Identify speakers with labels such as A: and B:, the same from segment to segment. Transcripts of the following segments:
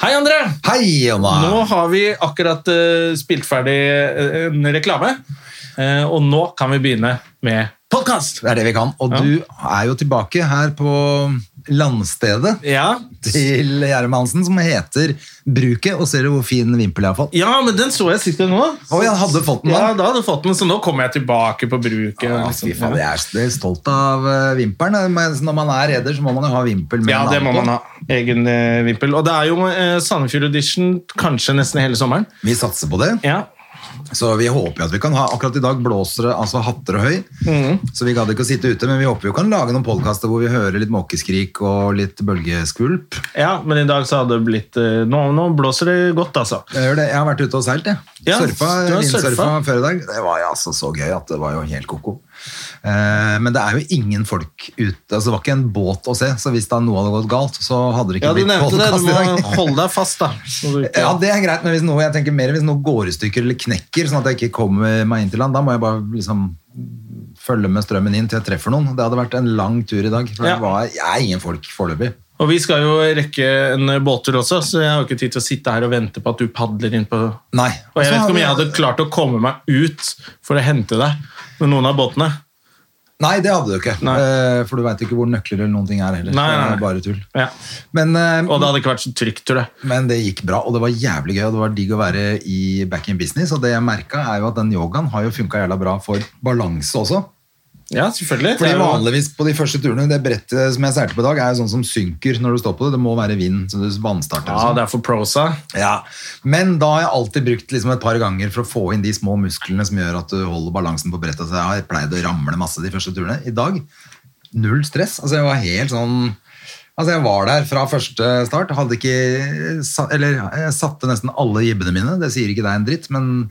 A: Hei, André!
B: Hei, Jonna.
A: Nå har vi akkurat eh, spilt ferdig eh, en reklame, eh, og nå kan vi begynne med podkast!
B: Det er det vi kan. Og
A: Ja.
B: du er jo tilbake her på landstedet
A: Ja.
B: til Gjerm Hansen, som heter Bruket. Og ser du hvor fin vimpel jeg har fått?
A: ja, men den så jeg sist gang òg.
B: Å, jeg hadde fått den da.
A: Ja, da hadde du fått den, så nå kommer jeg tilbake på bruket.
B: Ja,
A: liksom.
B: fy faen, jeg er jeg er stolt av eh, vimpelen. Men når man er reder, så må man jo ha vimpel. med
A: Ja, det
B: navn
A: må
B: på.
A: man ha. Egen eh, vimpel. Og det er jo eh, Sandefjord Edition kanskje nesten hele sommeren.
B: Vi satser på det.
A: Ja.
B: Så vi håper jo at vi kan ha Akkurat i dag blåser det altså hatter og høy,
A: Mhm.
B: så vi gadd ikke å sitte ute. Men vi håper jo kan lage noen podkaster hvor vi hører litt måkeskrik og litt bølgeskvulp.
A: ja, men i dag så hadde det blitt eh, Nå, nå blåser det godt, altså.
B: Jeg, gjør det. jeg har vært ute og seilt, jeg.
A: Ja,
B: surfa,
A: du har surfa.
B: Vindsurfa før i dag. Det var jo altså så gøy at det var jo helt ko-ko. Eh, men det er jo ingen folk ute. Altså, det var ikke en båt å se, så hvis da noe hadde gått galt, så hadde det ikke
A: Ja, du
B: blitt
A: nevnte det. Du
B: podcast
A: må
B: i dag.
A: holde deg fast, da. Så du ikke-
B: Ja, det er greit, men hvis noe, jeg tenker mer hvis noe går i stykker eller knekker, sånn at jeg ikke kommer meg inn til land, da må jeg bare liksom følge med strømmen inn til jeg treffer noen. Det hadde vært en lang tur i dag, for
A: Ja.
B: det var, jeg er ingen folk foreløpig.
A: Og vi skal jo rekke en båttur også, så jeg har jo ikke tid til å sitte her og vente på at du padler inn på
B: Nei.
A: Og jeg
B: Så
A: vet ikke om
B: vi-
A: jeg hadde klart å komme meg ut for å hente deg med noen av båtene.
B: Nei, det hadde du ikke,
A: Nei.
B: Eh, for du vet ikke hvor nøkler eller noen ting er heller.
A: Nei, nei,
B: Det
A: nei.
B: er bare tull.
A: Ja.
B: Men, eh,
A: Og det hadde ikke vært så trygt, tror jeg.
B: men det gikk bra, og det var jævlig gøy, og det var digg å være i back in business, og det jeg merket er jo at den yogaen har jo funket jævla bra for balanse også.
A: Ja, selvfølgelig. Det
B: Fordi
A: er jo-
B: vanligvis på de første turene, det brettet som jeg seilte på i dag, er jo sånn som synker når du står på det. Det må være vind, så du vannstarter og
A: Ja,
B: sånn.
A: det er for prosa.
B: Ja. Men da har jeg alltid brukt liksom et par ganger for å få inn de små musklene som gjør at du holder balansen på brettet. Så jeg har pleid å ramle masse de første turene. I dag, null stress. Altså, jeg var helt sånn Altså, jeg var der fra første start. Hadde ikke sa- Eller jeg satte nesten alle jibbene mine. Det sier ikke deg en dritt, men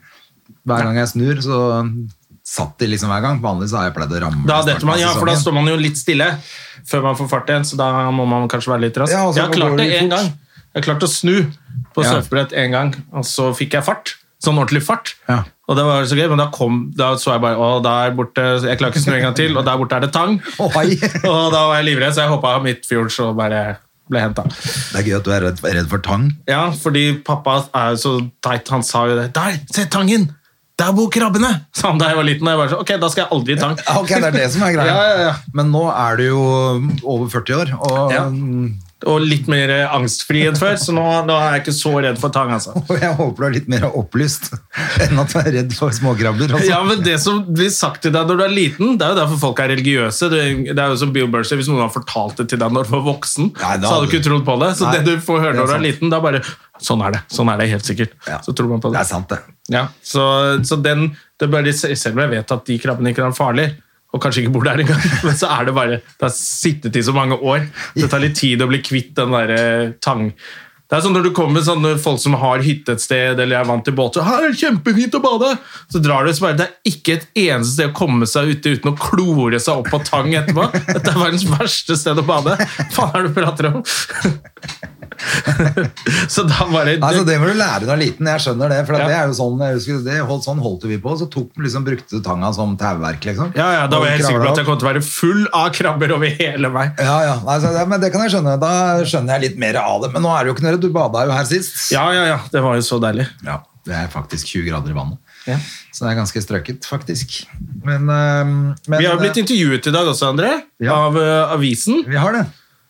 B: hver gang jeg snur, så satt de liksom hver gang. Vanligvis har jeg pleid å ramle.
A: Da
B: i starten
A: detter man,
B: av
A: ja, for da
B: sesongen.
A: står man jo litt stille før man får fart igjen, så da må man kanskje være litt rask.
B: Ja, og så
A: jeg har
B: går det
A: klart det
B: litt
A: én
B: fort.
A: gang. Jeg har klart å snu på
B: Ja.
A: surfebrett én gang, og så fikk jeg fart. Sånn ordentlig fart.
B: Ja.
A: Og det var så gøy, men da, kom, da så jeg bare Å, der borte Jeg klarer ikke å snu en gang til, og der borte er det tang.
B: Å, hei.
A: Og da var jeg livredd, så jeg hoppa av midtfjords og bare ble henta.
B: Det er gøy at du er redd, redd for tang.
A: Ja, fordi pappa er jo så teit. Han sa jo det. Der, se tangen! Der bor krabbene! Sa han da jeg var liten. Og jeg bare så, ok, da skal jeg aldri i tang.
B: Ok, det er det som er greia.
A: Ja, ja, ja.
B: Men nå er du jo over 40 år, og
A: Ja. Og litt mer eh, angstfri enn før, så nå, nå er jeg ikke så redd for tang, altså.
B: og jeg håper du er litt mer opplyst enn at du er redd for småkrabber. altså.
A: Ja, men Det som blir sagt til deg når du er liten, det er jo derfor folk er religiøse. Det det er jo som Bill Bursley, Hvis noen har fortalt det til deg når du var voksen,
B: Nei, da
A: så hadde
B: hadde
A: du ikke
B: du-
A: trodd på det. Så
B: Nei,
A: det du får høre
B: det er
A: når du er
B: sant.
A: liten, det er bare Sånn er det. sånn er det helt sikkert.
B: Ja.
A: Så tror man på
B: Det
A: det.
B: er sant, det.
A: Ja, så, så den, det er bare, selv om jeg vet at de krabbene ikke er farlige, og kanskje ikke bor der engang, men så er det bare Det har sittet i så mange år. Det tar litt tid å bli kvitt den derre tang... Det er sånn Når du kommer med sånne folk som har hytte et sted eller er vant til båt, så her er det kjempefint å bade, så drar du så bare Det er ikke et eneste sted å komme seg ute uten å klore seg opp på tang etterpå. Dette er verdens verste sted å bade. Hva faen er det du prater om? så da bare
B: Altså, det må du lære når du er liten, jeg skjønner det. For at
A: Ja.
B: det er jo sånn, jeg husker, det holdt, sånn holdt vi på, så tok, liksom, brukte du tanga som tauverk, liksom.
A: Ja, ja, Da var jeg helt
B: Og kravla
A: sikker på at jeg
B: opp.
A: kom til å være full av krabber over hele meg.
B: Ja, ja, Nei, så det- men det kan jeg skjønne. Da skjønner jeg litt mer av det. Men nå er det jo ikke noe redd, du bada jo her sist.
A: Ja, ja, ja, det var jo så deilig.
B: Ja, det er faktisk 20 grader i vannet.
A: Ja.
B: Så det er ganske strøkket, faktisk. Men, øhm, men eh,
A: Vi har jo blitt intervjuet i dag også, André,
B: Ja.
A: av eh, avisen.
B: Vi har det.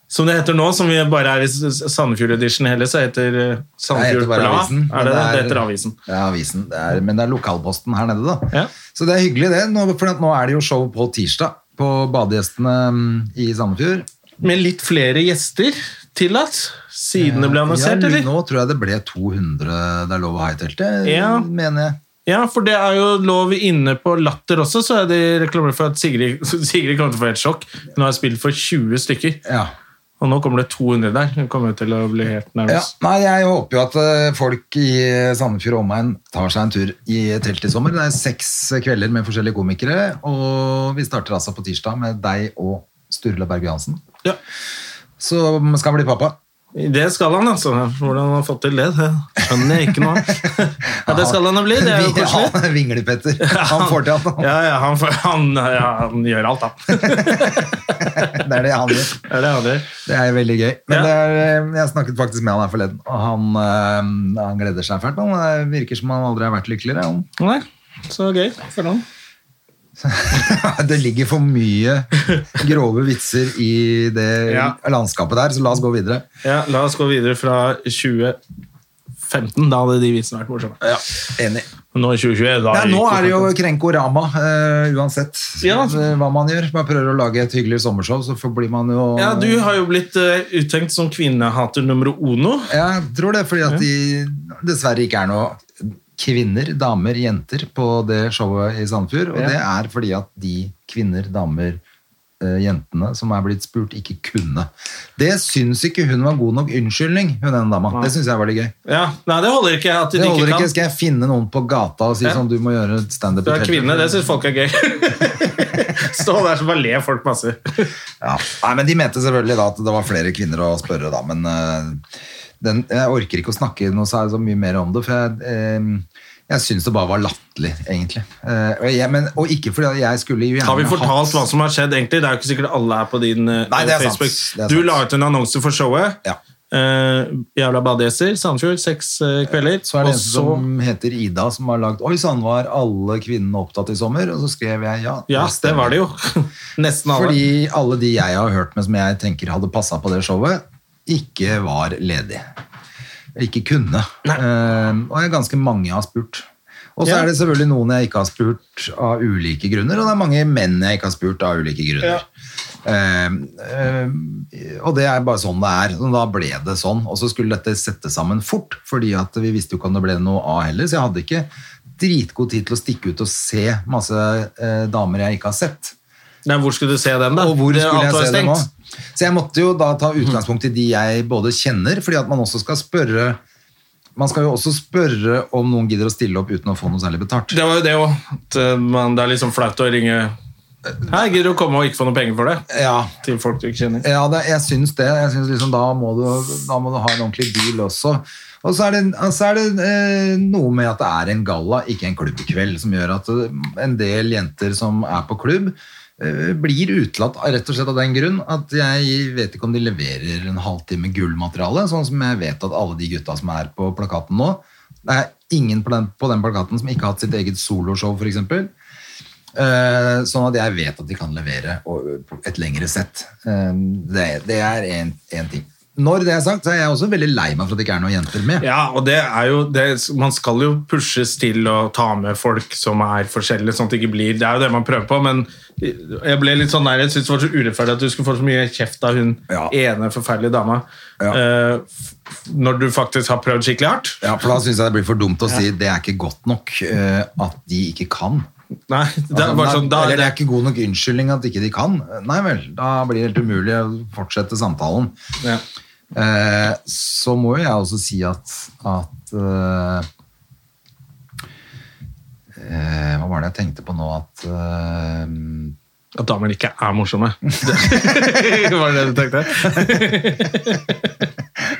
A: Som det heter nå, som vi bare er i S- S- Sandefjord Edition heller, så heter eh,
B: Det heter
A: Sandefjord
B: bare
A: Blad.
B: avisen.
A: Er det, det,
B: men er-
A: heter avisen.
B: Det er avisen. Det er, men det er lokalposten her nede, da.
A: Ja.
B: Så det er hyggelig, det. Nå, for at nå er det jo show på tirsdag på Badegjestene mm, i Sandefjord.
A: Med litt flere gjester tillatt siden det ble annonsert,
B: ja,
A: eller?
B: Nå tror jeg det ble 200 det er lov å ha i teltet,
A: Ja.
B: mener jeg.
A: Ja, for det er jo lov inne på Latter også, så er de reklamerer for at Sigrid, Sigrid kommer til å få helt sjokk. Hun har spilt for 20 stykker.
B: Ja.
A: Og nå kommer det 200 der. Du kommer jo til å bli helt
B: Ja,
A: nervøs.
B: nei, jeg håper jo at eh, folk i eh, Sandefjord og omegn tar seg en tur i telt i sommer. Det er seks eh, kvelder med forskjellige komikere, og vi starter altså på tirsdag med deg og Sturle Berg Johansen,
A: Ja.
B: som skal bli pappa.
A: Det skal han, altså. Hvordan han har fått til det, det skjønner jeg ikke nå. Ja, det skal han jo bli. Det er jo
B: Vi-
A: koselig.
B: Han vinglepetter. Han får til alt. han.
A: Ja, ja, han, får- han, ja, han gjør alt, da.
B: Det er det han gjør.
A: Det er det han gjør.
B: Det er veldig gøy. Men
A: Ja.
B: det er, eh, jeg snakket faktisk med han her forleden, og han, eh, han gleder seg fælt. Han eh, virker som han aldri har vært lykkeligere. Han.
A: Nei, så gøy for han.
B: Det ligger for mye grove vitser i det
A: Ja.
B: landskapet der, så la oss gå videre.
A: Ja, la oss gå videre fra 2015. Da hadde de vitsene vært morsomme.
B: Enig.
A: Men Nå i 2021, da
B: Ja, nå
A: ikke
B: er det jo
A: fantastisk.
B: Krenkorama, eh, uansett
A: Ja.
B: eh, hva man gjør. Man prøver å lage et hyggelig sommershow, så får- blir man jo
A: Ja, du har jo blitt eh, uttenkt som kvinnehater nummer ono.
B: Jeg tror det, fordi at de dessverre ikke er noe kvinner, damer, jenter på det showet i Sandefjord. Og
A: Ja.
B: det er fordi at de kvinner, damer, eh, jentene som er blitt spurt, ikke kunne. Det syns ikke hun var god nok unnskyldning, hun ene dama. Det syns jeg var litt gøy.
A: Ja, Nei, det holder ikke at de
B: Det
A: ikke
B: holder
A: kan.
B: ikke. Skal jeg finne noen på gata og si
A: Ja.
B: sånn, du må gjøre standup?
A: Du
B: i
A: er
B: teltet?»
A: kvinne, det syns folk er gøy. Stå der så bare ler folk masse.
B: Ja. Nei, men de mente selvfølgelig da at det var flere kvinner å spørre da, men eh, den, jeg orker ikke å snakke noe så, så mye mer om det, for jeg, eh, jeg synes det bare var latterlig, egentlig. Eh, og, jeg, men, og ikke fordi at jeg skulle jo gjerne
A: Har vi fortalt
B: hatt-
A: hva som har skjedd, egentlig? Det er jo ikke sikkert alle er på din eh,
B: Nei, det er sant.
A: Facebook.
B: Det er
A: Du
B: sant.
A: la ut en annonse for showet.
B: Ja.
A: Eh, jævla badegjester, Sandfjord, seks eh, kvelder.
B: Så er det en
A: og
B: som heter Ida som har lagt Oi, sann, var alle kvinnene opptatt i sommer? Og så skrev jeg ja.
A: Ja, det var det jo. Nesten alle.
B: Fordi alle de jeg har hørt med som jeg tenker hadde passa på det showet, ikke var ledige. Ikke kunne. Eh, og jeg er ganske mange jeg har spurt. Og så
A: Ja.
B: er det selvfølgelig noen jeg ikke har spurt av ulike grunner, og det er mange menn jeg ikke har spurt av ulike grunner. Eh, eh, og det er bare sånn det er. Og da ble det sånn. Og så skulle dette settes sammen fort, fordi at vi visste jo ikke om det ble noe av heller, så jeg hadde ikke dritgod tid til å stikke ut og se masse eh, damer jeg ikke har sett.
A: Nei, hvor skulle du se den, da?
B: Og hvor
A: Det-
B: skulle
A: alt var
B: jeg se det nå?
A: stengt.
B: Så jeg måtte jo da ta utgangspunkt i de jeg både kjenner, fordi at man også skal spørre Man skal jo også spørre om noen gidder å stille opp uten å få noe særlig betalt.
A: Det var jo det òg. Det er liksom flaut å ringe
B: Eh,
A: Hei, gidder du å komme og ikke få noe penger for det?
B: Ja,
A: Til folk du ikke kjenner.
B: ja det, jeg syns det. Jeg syns liksom da må, du, da må du ha en ordentlig deal også. Og så er det, altså er det eh, noe med at det er en galla, ikke en klubbkveld, som gjør at eh, en del jenter som er på klubb, eh, blir utelatt av- rett og slett av den grunn at jeg vet ikke om de leverer en halvtime gullmateriale, sånn som jeg vet at alle de gutta som er på plakaten nå Det er ingen på den, på den plakaten som ikke har hatt sitt eget soloshow, f.eks. Eh, Sånn at jeg vet at de kan levere og- på et lengre sett. Eh, Det, det er én ting. Når det er sagt, så er jeg også veldig lei meg for at det ikke er noen jenter med.
A: Ja, og det er jo det, Man skal jo pushes til å ta med folk som er forskjellige, sånn at det ikke blir Det er jo det man prøver på, men jeg ble litt sånn der, jeg syntes det var så urettferdig at du skulle få så mye kjeft av hun
B: Ja.
A: ene forferdelige dama
B: Ja.
A: eh, f- når du faktisk har prøvd skikkelig hardt.
B: Ja, For da syns jeg det blir for dumt å si det er ikke godt nok eh, at de ikke kan.
A: Nei, det er
B: Altså,
A: bare
B: nei,
A: sånn, da,
B: eller det er
A: det,
B: ikke god nok unnskyldning at ikke de kan. Nei vel, da blir det helt umulig å fortsette samtalen.
A: ja.
B: Eh, så må jo jeg også si at, at eh, eh, Hva var det jeg tenkte på nå? At eh,
A: At damer ikke er morsomme. Det- var det det du tenkte?
B: Ja,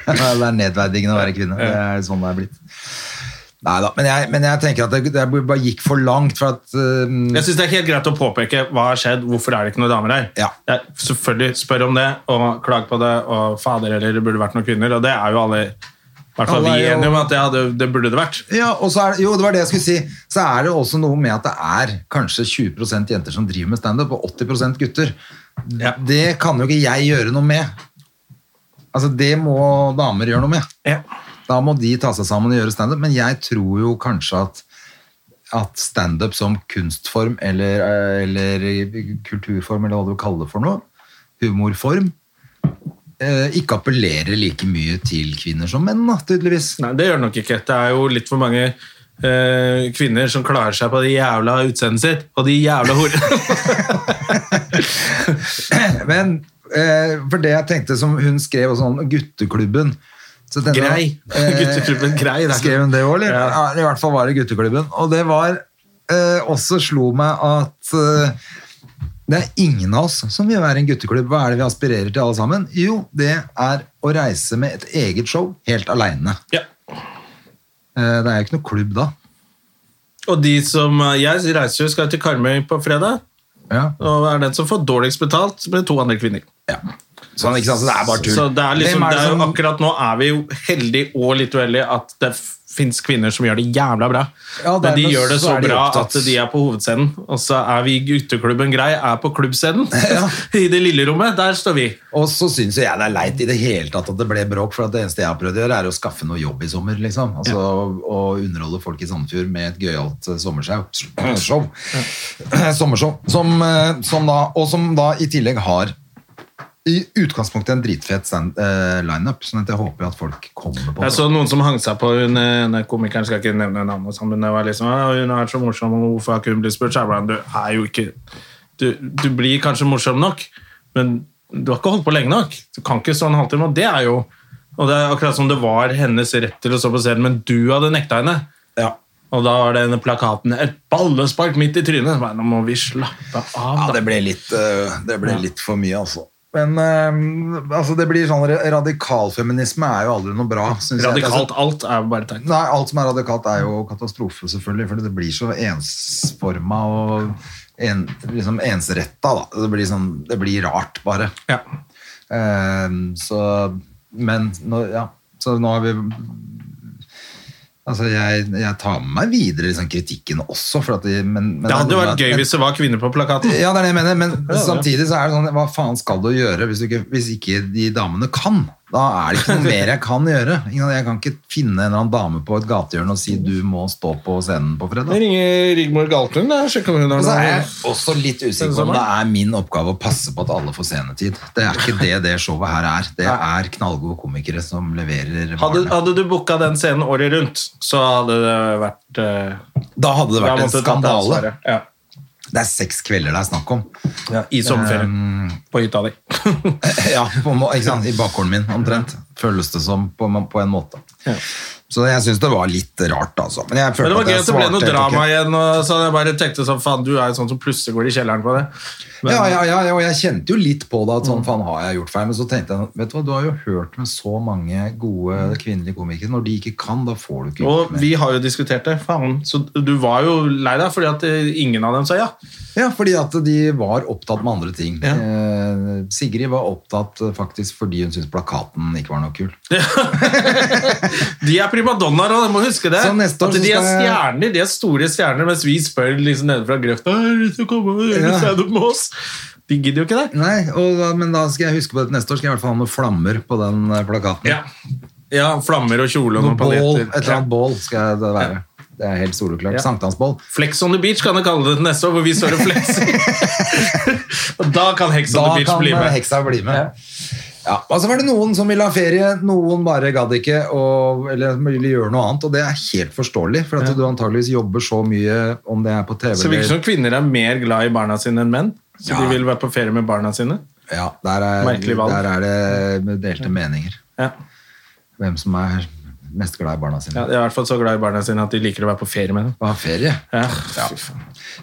B: Det er nedverdigende å være kvinne. Det er sånn det er blitt. Neida, men jeg, men jeg tenker at det, det bare gikk for langt, for at um, øhm,
A: Jeg synes Det er helt greit å påpeke hva har skjedd, hvorfor er det ikke noen damer her.
B: Ja.
A: Jeg selvfølgelig Spør om det, og klag på det, og fader eller det burde vært noen kvinner. Og det er jo alle i hvert fall
B: Alle
A: vi
B: er jo-
A: enige om at det, hadde, det burde det vært.
B: Ja, og så er det, jo, det var det jeg skulle si. Så er det også noe med at det er kanskje 20 jenter som driver med standup, og 80 gutter.
A: Ja.
B: Det kan jo ikke jeg gjøre noe med. Altså, det må damer gjøre noe med. Da må de ta seg sammen og gjøre standup, men jeg tror jo kanskje at at standup som kunstform eller, eh, eller kulturform, eller hva du kaller det for noe, humorform, eh, ikke appellerer like mye til kvinner som menn, da, tydeligvis.
A: Nei, det gjør det nok ikke. Det er jo litt for mange eh, kvinner som klarer seg på det jævla utseendet sitt og de jævla horene.
B: Men eh, for det jeg tenkte som hun skrev også sånn Gutteklubben. Så tenkte jeg, eh,
A: Grei. Gutteklubben Grei, det er- sånn.
B: Skrev hun det òg, eller? Ja.
A: Ja.
B: I hvert fall var det Gutteklubben. Og det var eh, også slo meg at eh, det er ingen av oss som vil være en gutteklubb. Hva er det vi aspirerer til alle sammen? Jo, det er å reise med et eget show helt aleine.
A: Ja.
B: Eh, det er jo ikke noe klubb da.
A: Og de som eh, Jeg reiser jo skal til Karmøy på fredag,
B: Ja.
A: og er den som får dårligst betalt, med to andre kvinner.
B: Sånn, ikke sant? Så det er bare tull.
A: Så det er liksom,
B: Hvem
A: det er
B: som-
A: jo akkurat nå er vi jo heldige og litt uheldige at det fins kvinner som gjør det jævla bra.
B: Ja,
A: Men de
B: dermed
A: gjør det
B: så
A: så
B: er de
A: bra
B: opptatt.
A: at de er på hovedscenen. Og så er vi i gutteklubben grei, er på klubbscenen. I det lille rommet, der står vi.
B: Og så syns jo jeg det er leit i det hele tatt at det ble bråk, for at det eneste jeg har prøvd å gjøre, er å skaffe noe jobb i sommer. liksom. Altså Å underholde folk i Sandefjord med et gøyalt eh, sommershow. Show. Sommershow. Som, eh, som da, og som da i tillegg har i utgangspunktet en dritfet stand, eh, lineup, sånn at jeg håper jo at folk kommer på.
A: Jeg så noen som hang seg på hun eh, den komikeren, skal ikke nevne navnet, sånn, men det var liksom «Å, Hun er så morsom, og hvorfor har ikke hun blitt spurt? Så jeg bare, Du er jo ikke du, du blir kanskje morsom nok, men du har ikke holdt på lenge nok. Du kan ikke stå en halvtime, og det er jo og det er akkurat som det var hennes rett til å stå på scenen, men du hadde nekta henne. Og da var denne plakaten 'Et ballespark midt i trynet'. Så bare, Nå må vi slappe av,
B: Ja,
A: da.
B: det ble litt, eh, det ble litt for mye, altså. Men eh, altså, det blir sånn radikalfeminisme er jo aldri noe bra. Synes jeg. Altså,
A: Radikalt alt er jo bare tegn.
B: Nei, alt som er radikalt er jo katastrofe, selvfølgelig. For det blir så ensforma og en, liksom ensretta, da. Det blir, sånn, det blir rart, bare.
A: Ja.
B: Ehm, så Men nå, ja. Så nå har vi Altså, jeg, jeg tar med meg videre liksom, kritikken også, for at de, men, men
A: Det hadde jo vært gøy
B: men-
A: hvis det var kvinner på plakaten.
B: ja, det er det jeg mener, men
A: Ja, ja.
B: samtidig så er det sånn Hva faen skal du gjøre hvis, du ikke, hvis ikke de damene kan? Da er det ikke noe mer jeg kan gjøre. Ikke sant? Jeg kan ikke finne en eller annen dame på et gatehjørne og si du må stå på scenen på fredag.
A: ringer Rigmor Galtun. Sjekk om hun
B: Og så er jeg også litt usikker på om
A: Denne
B: det
A: sommeren?
B: er min oppgave å passe på at alle får scenetid. Det er ikke det det showet her er. Det er knallgode komikere som leverer
A: Hadde,
B: varene.
A: hadde du booka den scenen året rundt, så hadde det vært eh,
B: Da hadde det
A: da
B: vært en
A: måtte du tatt det
B: skandale.
A: ansvaret. Ja.
B: Det er seks kvelder det er snakk om.
A: I sommerferien. på hytta di.
B: Ja, på, en må- ikke sant? I bakgården min, omtrent. Føles det som, på, på en måte. Så jeg syns det var litt rart, altså. Men, jeg
A: Men
B: følte
A: det var gøy
B: jeg
A: at det ble
B: svarte
A: noe
B: helt
A: drama
B: ok.
A: igjen. Og så jeg bare tenkte sånn, faen, du er jo sånn som plutselig går i kjelleren på det. Men,
B: Ja, ja, ja, ja, og jeg kjente jo litt på det at
A: Mm.
B: sånn, faen, har jeg gjort feil? Men så tenkte jeg, vet du hva, du har jo hørt med så mange gode kvinnelige komikere. Når de ikke kan, da får du ikke
A: Mm. Og
B: gjort mer.
A: vi har jo diskutert det, faen. Så du var jo lei deg fordi at eh, ingen av dem sa ja.
B: Ja, fordi at de var opptatt med andre ting.
A: Ja.
B: Eh, Sigrid var opptatt eh, faktisk fordi hun syntes plakaten ikke var noe kul.
A: De er primadonnaer, og du må huske det.
B: Så neste år
A: at
B: så
A: de er
B: skal jeg-
A: stjerner, de er store stjerner, mens vi spør liksom nede fra grøfta «Har du lyst til å komme og gjøre
B: Ja.
A: standup med oss. De gidder jo ikke det.
B: Nei, og, da- men da skal jeg huske på det til neste år, skal jeg i hvert fall ha noen flammer på den eh, plakaten.
A: Ja. ja, flammer og kjole og
B: Noe
A: noen
B: bål, et
A: paljetter.
B: eller annet bål skal det være. Det er helt soleklart.
A: Ja.
B: Sankthansbål.
A: Ja. Flex on the beach kan jeg kalle det til neste år, hvor vi står og flexer. og da kan Hex on
B: Da
A: the beach
B: kan eh,
A: bli med.
B: heksa bli med. Ja, og så var det noen som ville ha ferie, noen bare gadd ikke, og, eller ville gjøre noe annet, og det er helt forståelig, for at du antageligvis jobber så mye, om det er på TV
A: Så virker det
B: eller...
A: som kvinner er mer glad i barna sine enn menn. Så
B: Ja.
A: de vil være på ferie med barna sine.
B: Ja, der er,
A: Merkelig valg.
B: der er det delte meninger.
A: Ja.
B: Hvem som er mest glad i barna sine.
A: Ja, de er i hvert fall så glad i barna sine at de liker å være på ferie med dem.
B: Og ha ferie.
A: Ja.
B: Ja.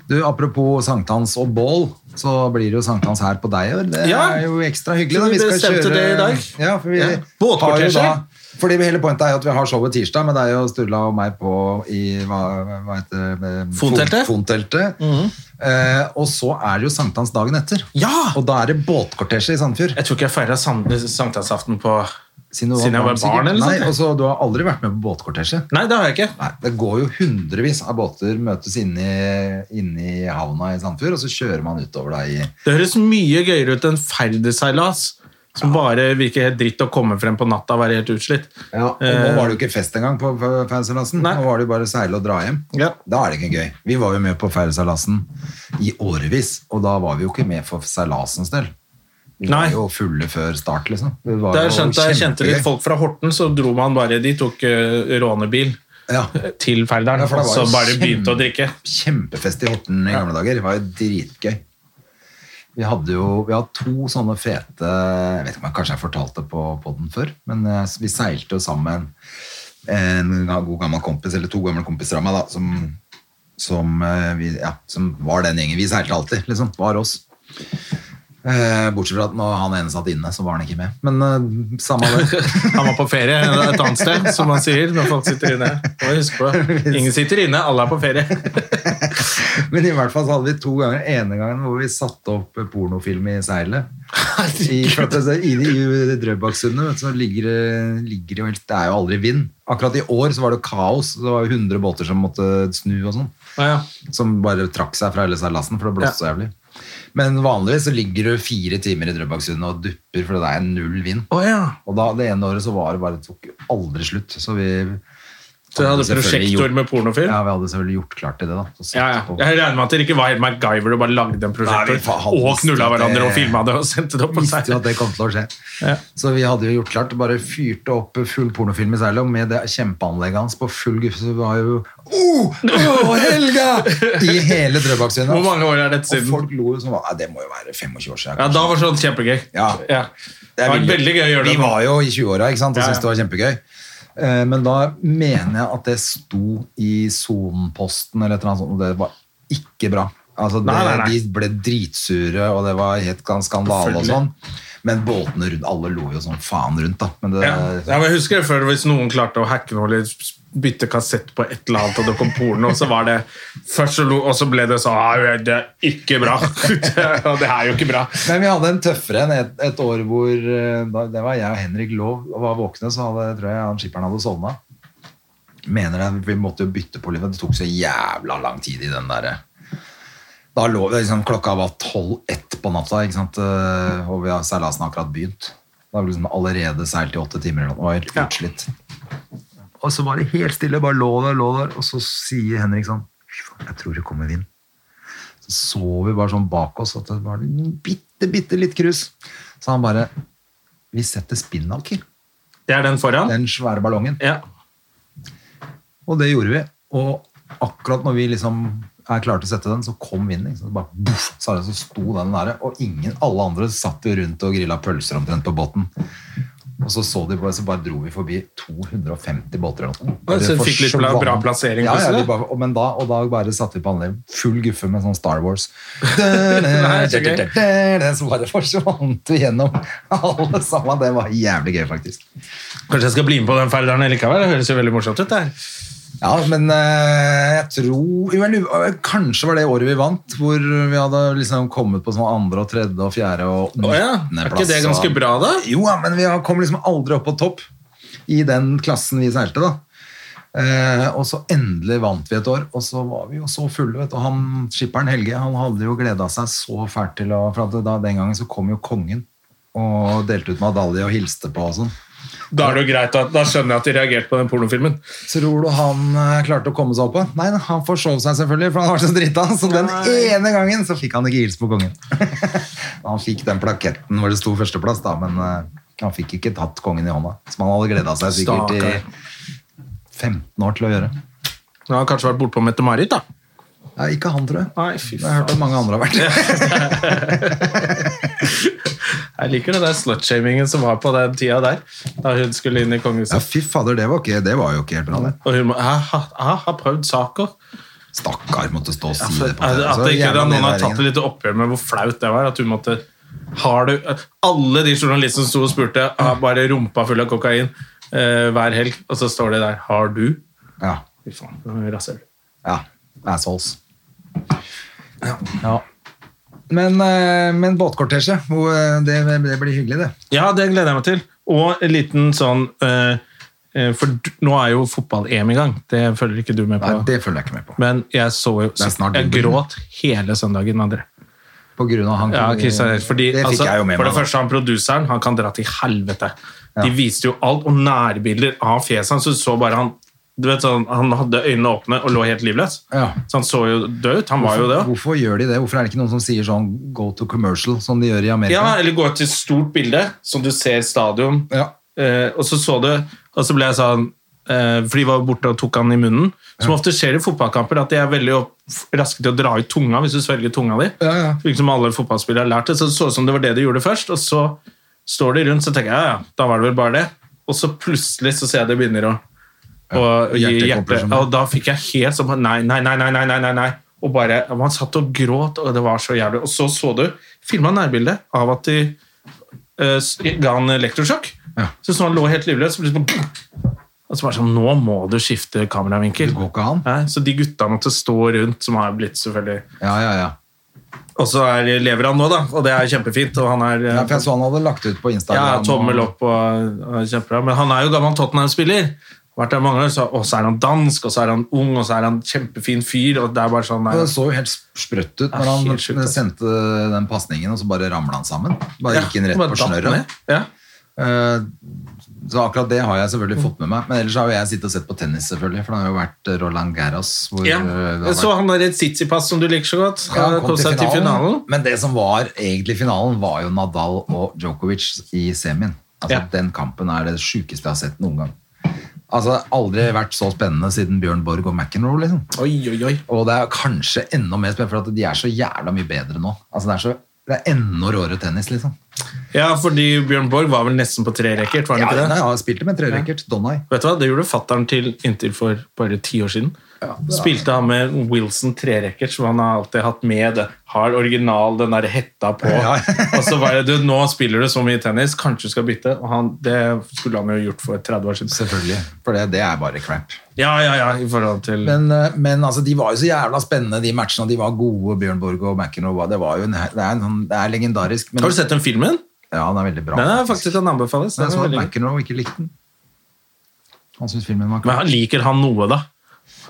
B: Du, apropos sankthans og bål, så blir det jo sankthans her på deg i år. Det
A: Ja.
B: er jo ekstra hyggelig.
A: Så vi
B: da. skal
A: bestemte det i dag.
B: Ja, for vi
A: Ja.
B: har jo
A: Båtkortesje.
B: da fordi Hele pointet er jo at vi har showet tirsdag, men det er jo Sturla og meg på i hva, hva heter det?
A: Fonteltet. Mhm.
B: Fon- Fonteltet. eh, og så er det jo sankthans dagen etter.
A: Ja!
B: Og da er det båtkortesje i Sandfjord.
A: Jeg tror ikke jeg feira sankthansaften på
B: Siden, du
A: Siden jeg var
B: sikkert.
A: barn, eller
B: Nei,
A: sånt.
B: og så Du har aldri vært med på båtkortesje?
A: Nei, det har jeg ikke.
B: Nei, det går jo hundrevis av båter møtes inne i- inne i havna i Sandfjord, og så kjører man utover da i
A: Det høres mye gøyere ut enn ferdigseilas, som bare virker helt dritt å komme frem på natta og være helt utslitt.
B: Ja, og nå var det jo ikke fest engang på f- ferdseilasen.
A: eh, Nei.
B: Nå var det jo bare å seile og dra hjem.
A: Ja.
B: Da er det ikke gøy. Vi var jo med på ferdseilasen i årevis, og da var vi jo ikke med for seilasens del. Vi var
A: Nei.
B: jo fulle før start, liksom. Det var
A: Da jeg
B: jo
A: skjønte, jeg kjente litt
B: kjempegøy.
A: folk fra Horten, så dro man bare De tok eh, rånebil
B: Ja.
A: til Færdalen,
B: Ja, for det
A: og
B: var
A: så
B: jo
A: bare begynte å
B: kjempe-
A: drikke.
B: Kjempefest i Horten i gamle dager. Det var jo dritgøy. Vi hadde jo vi hadde to sånne fete Jeg vet ikke om jeg kanskje jeg fortalte på podden før, men eh, vi seilte jo sammen en god gammel kompis, eller to gamle kompiser av meg, da, som, som, eh, vi, ja, som var den gjengen. Vi seilte alltid, liksom. Var oss. Eh, Bortsett fra at når han ene satt inne, så var han ikke med. Men eh, samme det.
A: Han var på ferie et annet sted, som man sier når folk sitter inne. Må huske på, ingen sitter inne, alle er på ferie.
B: Men i hvert fall så hadde vi to ganger ene gangen hvor vi satte opp pornofilm i seilet. I, for at det- I i- i Drøbaksundet vet du, så ligger, det- ligger det jo helt Det er jo aldri vind. Akkurat i år så var det kaos. Det var jo 100 båter som måtte snu og sånn.
A: Ja, ja.
B: Som bare trakk seg fra hele seilassen, for det blåste så jævlig. Men vanligvis så ligger du fire timer i Drøbaksundet og dupper, for det er null vind.
A: Å ja.
B: Og da, det ene året så var det bare det tok aldri slutt. Så vi
A: Så dere hadde
B: selvfølgelig
A: prosjektor med pornofilm?
B: Ja, vi hadde selvfølgelig gjort klart til det, da. Så satte
A: Ja, ja.
B: på-
A: Jeg regner med at dere ikke var helt MacGyver og bare lagde en
B: Nei, vi
A: prosjektor
B: fa- hadde
A: og
B: visst
A: knulla
B: at det-
A: hverandre og filma det og sendte det opp. på
B: visste jo
A: seg.
B: at det kom til å skje.
A: Ja.
B: Så vi hadde jo gjort klart, bare fyrte opp full pornofilm i Seilo med det kjempeanlegget hans på full guffe. Så det var jo oh, oh, Helga! I hele Drøbaksundet.
A: Hvor mange år er dette
B: Og
A: siden?
B: folk lo jo som var Det må jo være 25 år siden.
A: Ja, Da var sånn kjempegøy.
B: Ja.
A: Det var veldig gøy å gjøre det.
B: Vi var jo i 20-åra ikke sant? og
A: Ja, ja.
B: syntes det var kjempegøy. Eh, Men da mener jeg at det sto i Sonenposten eller et eller annet sånt, og det var ikke bra. Altså, det,
A: Nei, nei, nei.
B: De ble dritsure, og det var helt kan- skandale og sånn. Men båtene rundt Alle lo jo sånn faen rundt, da. Men det,
A: Ja. ja, men jeg husker det før Hvis noen klarte å hacke noe eller bytte kassett på et eller annet, og det kom porno, så var det først så lo, og så ble det sånn «Nei, Det er ikke bra. Og det er jo ikke bra.
B: Men vi hadde en tøffere enn et, et år hvor eh, da, Det var jeg og Henrik Lov og var våkne, så hadde, tror jeg han skipperen hadde sovna. Mener jeg, Vi måtte jo bytte på livet. Det tok så jævla lang tid i den derre Da lå vi liksom Klokka var tolv-ett på natta, ikke sant? eh, og vi har seilasen har akkurat begynt. Da hadde vi liksom allerede seilt i åtte timer eller noe. og var utslitt. Og så var det helt stille. Bare lå der, lå der. Og så sier Henrik sånn Fy faen, jeg tror det kommer vind så så vi bare sånn bak oss at det var en bitte, bitte litt krus. Så han bare Vi setter spinnaker,
A: Det er den foran.
B: den svære ballongen.
A: Ja.
B: Og det gjorde vi. Og akkurat når vi liksom er klare til å sette den, så kom vinden. ikke sant? Bare boff, så, er det, så sto den der, og ingen, alle andre satt jo rundt og grilla pølser omtrent på båten. Og så så de bare, så bare dro vi forbi 250 båter eller noe.
A: Ja, så
B: Det
A: du fikk litt
B: forsvant.
A: bra plassering
B: Ja, ja,
A: plutselig?
B: de bare, og, men da, og da bare satte vi på anlegg full guffe med sånn Star Wars.
A: Nei, så gøy.
B: Den som bare forsvant vi gjennom alle sammen. Det var jævlig gøy, faktisk.
A: Kanskje jeg skal bli med på den ferderen likevel? Det høres jo veldig morsomt ut. der.
B: Ja, men eh, jeg tror jo, eller, eh, Kanskje var det året vi vant, hvor vi hadde liksom kommet på sånn andre og tredje og fjerde og
A: Å ja. Er ikke
B: altså-
A: det ganske bra, da?
B: Jo, ja, men vi har- kom liksom aldri opp på topp i den klassen vi seilte, da. Eh, og så endelig vant vi et år, og så var vi jo så fulle. Vet du. Og han, skipperen Helge han hadde jo gleda seg så fælt til å For at da, den gangen så kom jo kongen og delte ut medalje og hilste på og sånn.
A: Da, er det jo greit at, da skjønner jeg at de reagerte på den pornofilmen.
B: Tror du han eh, klarte å komme seg opp på? Nei, da, han forsov seg selvfølgelig, for han var så drita. Så den ene gangen så fikk han ikke hilse på kongen. han fikk den plaketten hvor det sto førsteplass, da, men eh, han fikk ikke tatt kongen i hånda. Som han hadde gleda seg sikkert
A: Stakkar.
B: i 15 år til å gjøre.
A: Nå har han kanskje vært bortpå Mette-Marit, da.
B: Nei, ikke han, tror jeg.
A: Nei, fy
B: jeg har hørt at mange andre har vært
A: Jeg liker det der slutshamingen som var på den tida der. Da hun skulle inn i
B: Ja,
A: kongehuset.
B: fy fader, det var, ikke, det var jo ikke helt bra, det.
A: Og hun må- jeg har- jeg har prøvd saker.
B: Stakkar måtte stå og si det på
A: At,
B: TV.
A: at
B: Så
A: det ikke,
B: jævla
A: at noen har tatt
B: nedværingen.
A: et lite oppgjør med hvor flaut det var. At hun måtte har du, Alle de journalistene som sto og spurte, har bare rumpa full av kokain eh, hver helg, og så står de der Har du?
B: Ja.
A: Fy faen, det var rasshøl.
B: Ja. Assholes. Ja. Men, eh, men båtkortesje, hvor, eh, det, det blir hyggelig, det.
A: Ja, det gleder jeg meg til. Og en liten sånn eh, eh, For du- nå er jo fotball-EM i gang. Det følger ikke du med på.
B: Nei, det følger jeg ikke med på.
A: Men jeg så jo
B: er snart
A: Jeg
B: jul.
A: gråt hele søndagen, André.
B: På grunn av han
A: Ja, Christian Eriksen, fordi,
B: Det fikk
A: altså,
B: jeg jo med
A: For
B: meg.
A: det
B: da.
A: første, han produseren, han kan dra til helvete. De
B: Ja.
A: viste jo alt, og nærbilder av fjeset hans. Så du så bare han du vet, sånn, Han hadde øynene åpne og lå helt livløs.
B: Ja.
A: Så han så jo død ut. Han var jo det. også.
B: Hvorfor gjør de det? Hvorfor er det ikke noen som sier sånn go to commercial, som de gjør i
A: Ja,
B: Amerika?
A: Eller gå til et stort bilde, som du ser stadion.
B: Ja.
A: Eh, og så så du, og så ble jeg sånn eh, For de var borte og tok han i munnen. Som ofte skjer i fotballkamper, at de er veldig opp, raske til å dra ut tunga hvis du svelger tunga di.
B: Ja, ja.
A: Virker som alle fotballspillere har lært det, så det så ut som det var det de gjorde først. Og så står de rundt, så tenker jeg ja, ja, da var det vel bare det. Og så plutselig så ser jeg det begynner å, å å gi
B: hjertet
A: hjerte.
B: kobler som det.
A: Og da fikk jeg helt sånn nei, nei, nei, nei, nei, nei, nei, nei. Og bare, Man satt og gråt, og det var så jævlig. Og så så du filma nærbildet av at de eh, s- ga han elektrosjokk.
B: Ja.
A: Så så han lå helt livløs. så plutselig bare- Og så var det sånn Nå må du skifte kameravinkel.
B: Det går ikke an.
A: Nei, så de gutta måtte stå rundt, som har blitt selvfølgelig
B: Ja, ja, ja.
A: Og så er, lever han nå, da, og det er kjempefint. Og han er
B: Ja, for jeg så han hadde lagt ut på Instagram.
A: ja, tommel
B: og-
A: opp og, og kjempebra. Men han er jo gammel Tottenham-spiller. Vært der mange år, så, Og så er han dansk, og så er han ung, og så er han kjempefin fyr. Og det er bare sånn nei.
B: Og Det så jo helt sprøtt ut
A: Ja,
B: når han
A: helt sjukt, altså.
B: sendte den pasningen, og så bare ramla han sammen. Bare
A: Ja,
B: gikk inn rett
A: bare
B: på
A: datt
B: snørra.
A: ned. Ja.
B: Eh, Så akkurat det har jeg selvfølgelig fått med meg. Men ellers har jo jeg sittet og sett på tennis, selvfølgelig. For det har jo vært eh, Roland Garros. Hvor
A: Ja.
B: eh, det har
A: Jeg så
B: vært-
A: han der Tsitsipas som du liker så godt.
B: Ja,
A: Han kom seg til finalen.
B: Men det som var egentlig finalen, var jo Nadal og Djokovic i semien. Altså,
A: Ja.
B: Den kampen er det sjukeste jeg har sett noen gang. Altså, Aldri vært så spennende siden Bjørn Borg og McEnroe, liksom.
A: Oi, oi, oi.
B: Og det er kanskje enda mer spennende, for at de er så jævla mye bedre nå. Altså, det er så... Det er enda råere tennis, liksom.
A: Ja, fordi Bjørn Borg var vel nesten på trerekkert, var
B: Ja,
A: han
B: nei,
A: ikke det?
B: ja, jeg spilte med trerekkert, Donai.
A: Vet du hva, Det gjorde fattern til inntil for bare ti år siden. Spilte han med Wilson trerekkert, som han har alltid hatt med. det. Har original den der hetta på.
B: Ja.
A: og så var det, du, Nå spiller du så mye tennis, kanskje du skal bytte. Og han, det skulle han jo gjort for 30 år siden.
B: Selvfølgelig, for det, det er bare crap.
A: Ja, ja, ja, i forhold til...
B: Men, eh, men altså, de var jo så jævla spennende, de matchene, og de var gode, Bjørn Borg og McEnroe. var- Det, var jo en, det, er, en, sånn- det er legendarisk. Men,
A: Har du sett den filmen?
B: Ja, den er veldig bra.
A: Den er faktisk den anbefales.
B: Men
A: Den
B: jeg
A: er
B: så at
A: veldig-
B: McEnroe ikke likte den. Han syntes filmen var
A: Men han liker han noe, da.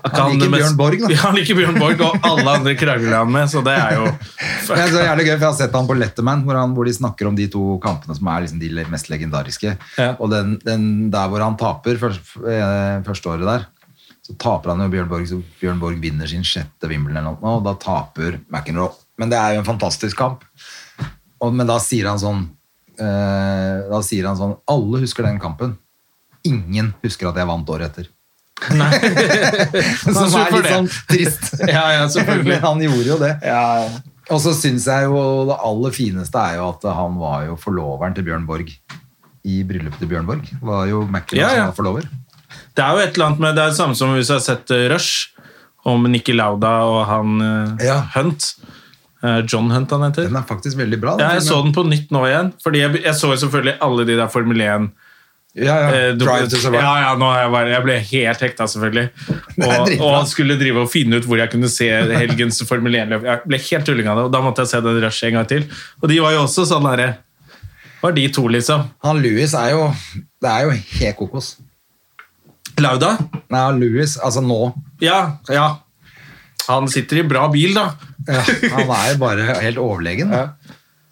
A: At
B: Han liker
A: det mest-
B: Bjørn Borg, da.
A: Ja, han liker Bjørn Borg, og alle andre krangler han med, så det er jo
B: Det er så jævlig gøy, for Jeg har sett han på Letterman, hvor, han, hvor de snakker om de to kampene som er liksom de le- mest legendariske.
A: Ja.
B: Og den, den der hvor han taper først, eh, første året der, så taper han jo Bjørn Borg, så Bjørn Borg vinner sin sjette Wimbledon, eller noe, og da taper McEnroe. Men det er jo en fantastisk kamp. Og, men da sier han sånn eh, Da sier han sånn Alle husker den kampen. Ingen husker at jeg vant året etter. Som
A: sur
B: er
A: for
B: litt
A: det.
B: sånn trist.
A: Ja, ja, selvfølgelig.
B: Men han gjorde jo det.
A: Ja, ja.
B: Og så syns jeg jo det aller fineste er jo at han var jo forloveren til Bjørn Borg. I bryllupet til Bjørn Borg var jo McEnroe
A: Ja, ja.
B: som var forlover.
A: Det er jo et eller annet med, det er det samme som hvis jeg har sett eh, Rush, om Nicky Lauda og han eh,
B: Ja.
A: Hunt. Eh, John Hunt han heter.
B: Den er faktisk veldig bra.
A: Ja, jeg så
B: filmen.
A: den på nytt nå igjen, fordi jeg, jeg så jo selvfølgelig alle de der Formel 1
B: Ja, ja.
A: Eh, du-
B: Drive to Survive.
A: ja, ja, nå er jeg, bare, jeg ble helt hekta, selvfølgelig.
B: Det er
A: Og,
B: dritbra.
A: og skulle drive og finne ut hvor jeg kunne se helgens Formel 1-løp. Jeg ble helt tulling av det, og da måtte jeg se den Rush en gang til. Og de var jo også sånn derre Var de to, liksom.
B: Han Louis er jo Det er jo helt kokos.
A: Lauda?
B: Nei, han Louis, altså nå
A: Ja, ja. Han sitter i bra bil, da.
B: ja, Han er jo bare helt overlegen.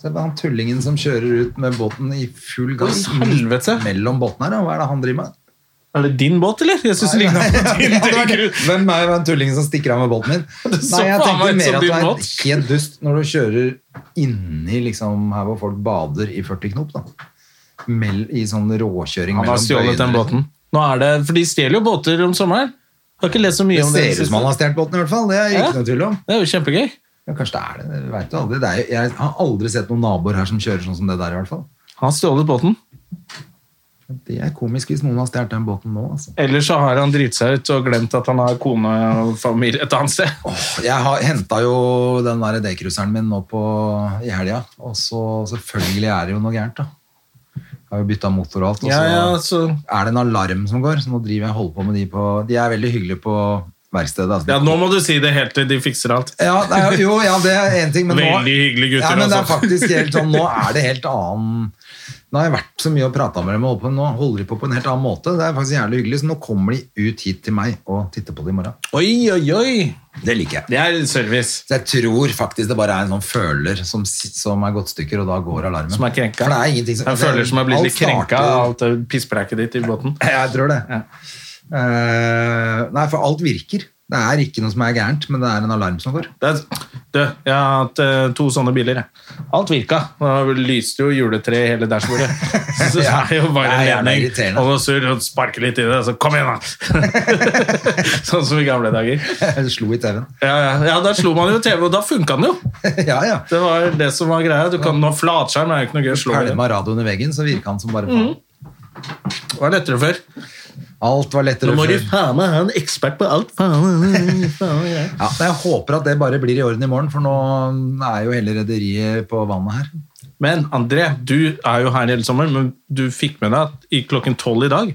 B: Se på han tullingen som kjører ut med båten i full gass
A: Å, helvete.
B: mellom båtene her. da. Hva er det han driver med?
A: Er det din båt, eller? Jeg synes det
B: Nei,
A: ligner på
B: nei, det
A: din.
B: hadde vært-
A: Tenker du-
B: Hvem er den tullingen som stikker av med båten min?
A: Det så
B: Nei, jeg
A: faen
B: tenkte
A: meg ut
B: mer
A: som
B: at du
A: din
B: er
A: båt.
B: helt dust når du kjører inni liksom, her hvor folk bader i 40 knop. Da. Mell, I sånn råkjøring
A: Han har stjålet den
B: bøyene.
A: båten. Nå er det, for de stjeler jo båter om sommeren. Jeg har ikke lest så mye
B: Det
A: om det.
B: ser ut som han har stjålet båten, i hvert fall. Det er
A: Ja.
B: ikke noe tvil om.
A: Det er jo kjempegøy.
B: Ja, kanskje det er det. det vet du aldri. Det er, jo- jeg har aldri sett noen naboer her som kjører sånn som det der, i hvert fall.
A: Han har stjålet båten.
B: Det er komisk hvis noen har stjålet den båten nå. Altså.
A: Eller så har han driti seg ut og glemt at han har kone og familie et annet sted.
B: Jeg har henta jo den der dekrusseren min nå på, i helga, og så selvfølgelig er det jo noe gærent, da. Jeg har jo bytta motor og alt, og
A: Ja,
B: så
A: ja, så...
B: er det en alarm som går, så nå driver jeg og holder på med de på De er veldig hyggelige på verkstedet. Altså.
A: ja, nå må du si det helt til de fikser alt.
B: Ja, det er, jo, ja, det er én ting, men nå
A: Veldig hyggelige gutter,
B: Ja, men det er
A: altså.
B: faktisk helt sånn, Nå er det helt annen Nå har jeg vært så mye og prata med dem, og holdt på- nå holder de på på en helt annen måte. Det er faktisk jævlig hyggelig, så nå kommer de ut hit til meg og titter på det i morgen.
A: Oi, oi, oi!
B: Det liker jeg.
A: Det er service.
B: Så jeg tror faktisk det bare er en sånn føler som, som er gått stykker, og da går alarmen.
A: Som er krenka.
B: For det er ingenting som...
A: Jeg føler som jeg blir
B: alt
A: litt krenka
B: starter-
A: av alt det pisspreiket ditt i båten.
B: Jeg tror det. Eh, nei, for alt virker. Det Det er ikke noe som er gærent, men det er en alarm som går.
A: Det er, du, jeg har hatt eh, to sånne biler. Jeg. Alt virka. Det lyste jo juletreet i hele dashbordet. Så det
B: Ja,
A: er jo bare
B: det er jævla
A: lening
B: irriterende.
A: og noe surr og sparke litt i det, så kom igjen, da! sånn som i gamle dager.
B: Jeg slo i TV-en.
A: Ja, ja, ja, der slo man jo TV, og da funka den jo!
B: ja, ja.
A: Det var det som var greia. Du kan nå flatskjerm, det Mhm. er jo ikke noe gøy å slå i den.
B: Pælma radioen i veggen, så virka han som bare faen.
A: Det var lettere før.
B: Alt var lettere
A: Nå må du
B: før.
A: faen meg ha en ekspert på alt, faen. faen ja.
B: Ja, men jeg håper at det bare blir i orden i morgen, for nå er jo hele rederiet på vannet her.
A: Men André, du er jo her hele sommeren, men du fikk med deg at i klokken tolv i dag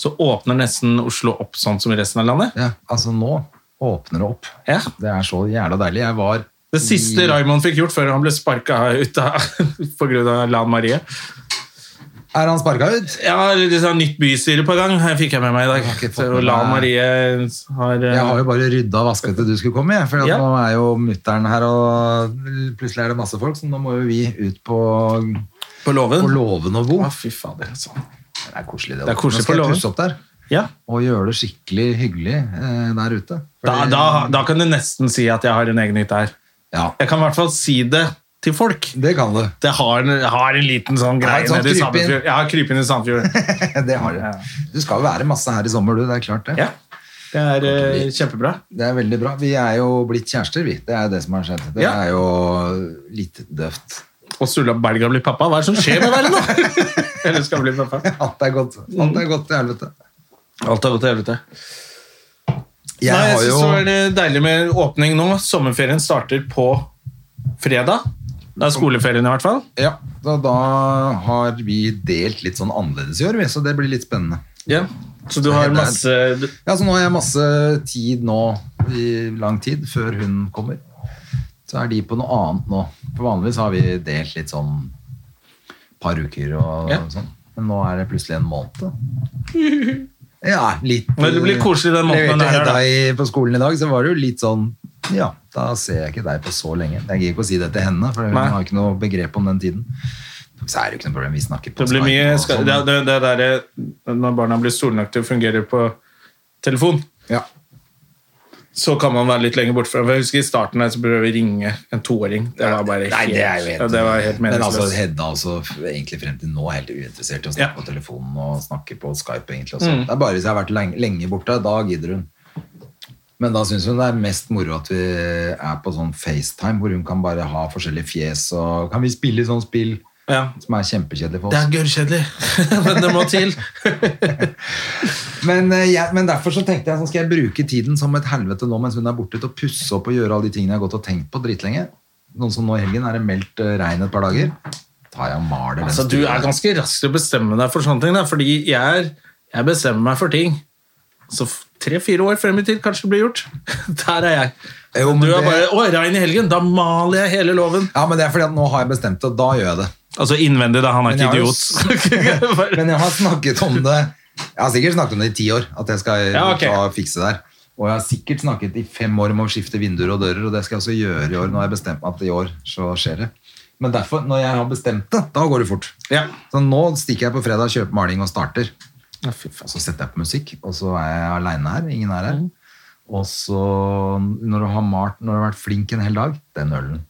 A: så åpner nesten Oslo opp sånn som i resten av landet.
B: Ja, altså nå åpner det opp.
A: Ja.
B: Det er så jævla deilig. Jeg var
A: Det siste Raymond fikk gjort før han ble sparka ut av, på grunn av Lan Marie.
B: Er han sparka ut?
A: Ja, det er sånn nytt bystyre på gang, her fikk jeg med meg i dag.
B: har ikke fått
A: Så
B: med
A: Lan
B: meg.
A: Marie har, eh,
B: Jeg har jo bare rydda og vasket til du skulle komme, jeg, for at
A: Ja.
B: nå er jo mutter'n her, og plutselig er det masse folk, så nå må jo vi ut på,
A: på låven.
B: på låven og bo.
A: Å, fy fader, altså.
B: Det er koselig, det.
A: Det er koselig
B: nå skal
A: på låven.
B: jeg pusse opp der
A: Ja.
B: og gjøre det skikkelig hyggelig eh, der ute.
A: Da,
B: Fordi-
A: da, da kan du nesten si at jeg har en egen hytte her.
B: Ja,
A: Jeg kan i hvert fall si det til folk.
B: det kan du.
A: Det har en, har en liten sånn
B: Det har
A: greie
B: en sånn
A: nede i
B: krypinn.
A: Sandefjord. Ja, krypinn i Sandefjord.
B: det har du. Du skal jo være masse her i sommer, du. Det er klart det.
A: Ja, det er eh, kjempebra.
B: Det er veldig bra. Vi er jo blitt kjærester, vi. Det er jo det som har skjedd. Det
A: Ja.
B: er jo litt døvt.
A: Og Sturla Berga blir pappa. Hva er det som skjer med verden nå? Eller skal bli pappa.
B: Alt er godt. Alt er godt til helvete.
A: Alt har gått til helvete.
B: Jeg
A: Nei, jeg
B: har
A: synes
B: jo
A: det var eh, deilig med åpning nå. Sommerferien starter på fredag. Det er skoleferien i hvert fall.
B: ja, da, da har vi delt litt sånn annerledes i år, vi, så det blir litt spennende.
A: Så du har
B: Nei, det er-
A: masse
B: Ja, så nå har jeg masse tid nå, i lang tid, før hun kommer. Så er de på noe annet nå. For vanligvis har vi delt litt sånn par uker og
A: Ja.
B: sånn. Men nå er det plutselig en måned. da. Ja, litt
A: Men det blir koselig den
B: Leverte
A: måneden den er her, da.
B: Hedda i- på skolen i dag, så var det jo litt sånn Ja, da ser jeg ikke deg på så lenge. Jeg gidder ikke å si det til henne, for hun
A: Nei.
B: har ikke noe begrep om den tiden. Så er det jo ikke noe problem, vi snakker på
A: Det blir
B: Skype
A: mye
B: og
A: skal,
B: sånn.
A: det, det, det der, eh, Når barna blir store nok til å fungere på telefon,
B: Ja.
A: så kan man være litt lenger bortfra. For Jeg husker I starten her så prøvde vi ringe en toåring. Det var bare
B: Nei, det er jo helt,
A: ja, det var helt
B: Men altså,
A: meningsløst.
B: Hedda også f- egentlig frem til nå er helt uinteressert i å snakke
A: Ja. Mm.
B: på telefonen og snakke på Skype. egentlig også. Det er bare hvis jeg har vært lenge, lenge borte, da gidder hun. Men da syns hun det er mest moro at vi er på sånn FaceTime, hvor hun kan bare ha forskjellige fjes og Kan vi spille sånn spill?
A: Ja.
B: Som er kjempekjedelig for
A: Det
B: oss.
A: er gørrkjedelig, men det må til.
B: Men, eh, jeg, men derfor så tenkte jeg sånn, skal jeg bruke tiden som et helvete nå mens hun er borte, til å pusse opp og gjøre alle de tingene jeg har gått og tenkt på dritlenge. Noen som nå i helgen er det meldt eh, regn et par dager. Tar jeg og maler den
A: Altså, du
B: stuen
A: er
B: der.
A: ganske rask til å bestemme deg for sånne ting, da, fordi jeg, er, jeg bestemmer meg for ting. Så tre-fire år frem i tid kanskje det blir gjort. Der er jeg.
B: Jo, men
A: du er
B: det-
A: bare 'Å, regn i helgen', da maler jeg hele låven.
B: Ja, men det er fordi at nå har jeg bestemt det, og da gjør jeg det.
A: Altså innvendig, da. Han er
B: Men jeg
A: ikke
B: har jo
A: idiot.
B: Men jeg har snakket om det Jeg har sikkert snakket om det i ti år, at jeg skal
A: Ja, ok.
B: ta og fikse det her. Og jeg har sikkert snakket i fem år om å skifte vinduer og dører, og det skal jeg også gjøre i år. Nå har jeg bestemt meg at i år så skjer det. Men derfor, når jeg har bestemt det, da går det fort.
A: ja.
B: Så nå stikker jeg på fredag, kjøper maling og starter.
A: Ja, fy faen.
B: Og så setter jeg på musikk, og så er jeg aleine her. Ingen er
A: Mm.
B: her. Og så, når du har malt, når du har vært flink en hel dag, den ølen.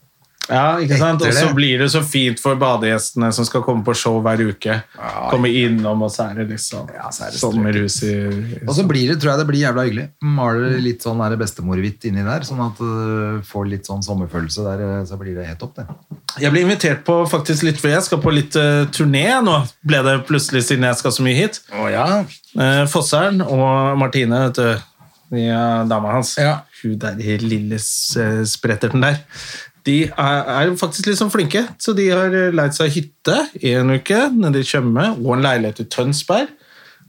A: Ja, ikke sant?
B: Etter
A: Og så
B: det.
A: blir det så fint for badegjestene som skal komme på show hver uke.
B: Ja,
A: Komme innom, og så er det liksom
B: Ja, så er det
A: sommerhus i
B: Og så blir det, tror jeg det blir jævla hyggelig.
A: Mm.
B: Maler litt sånn der bestemorhvitt inni der, sånn at du får litt sånn sommerfølelse der, øh, så blir det helt opp, det.
A: Jeg ble invitert på faktisk litt, for jeg skal på litt eh, turné nå, ble det plutselig siden jeg skal så mye hit.
B: Å ja.
A: Eh, Fossern og Martine, vet du, de er dama hans,
B: Ja.
A: hun der i lille eh, spretterten der, de er, er faktisk litt sånn flinke, så de har eh, leid seg hytte i en uke nede i Tjøme, og en leilighet i Tønsberg.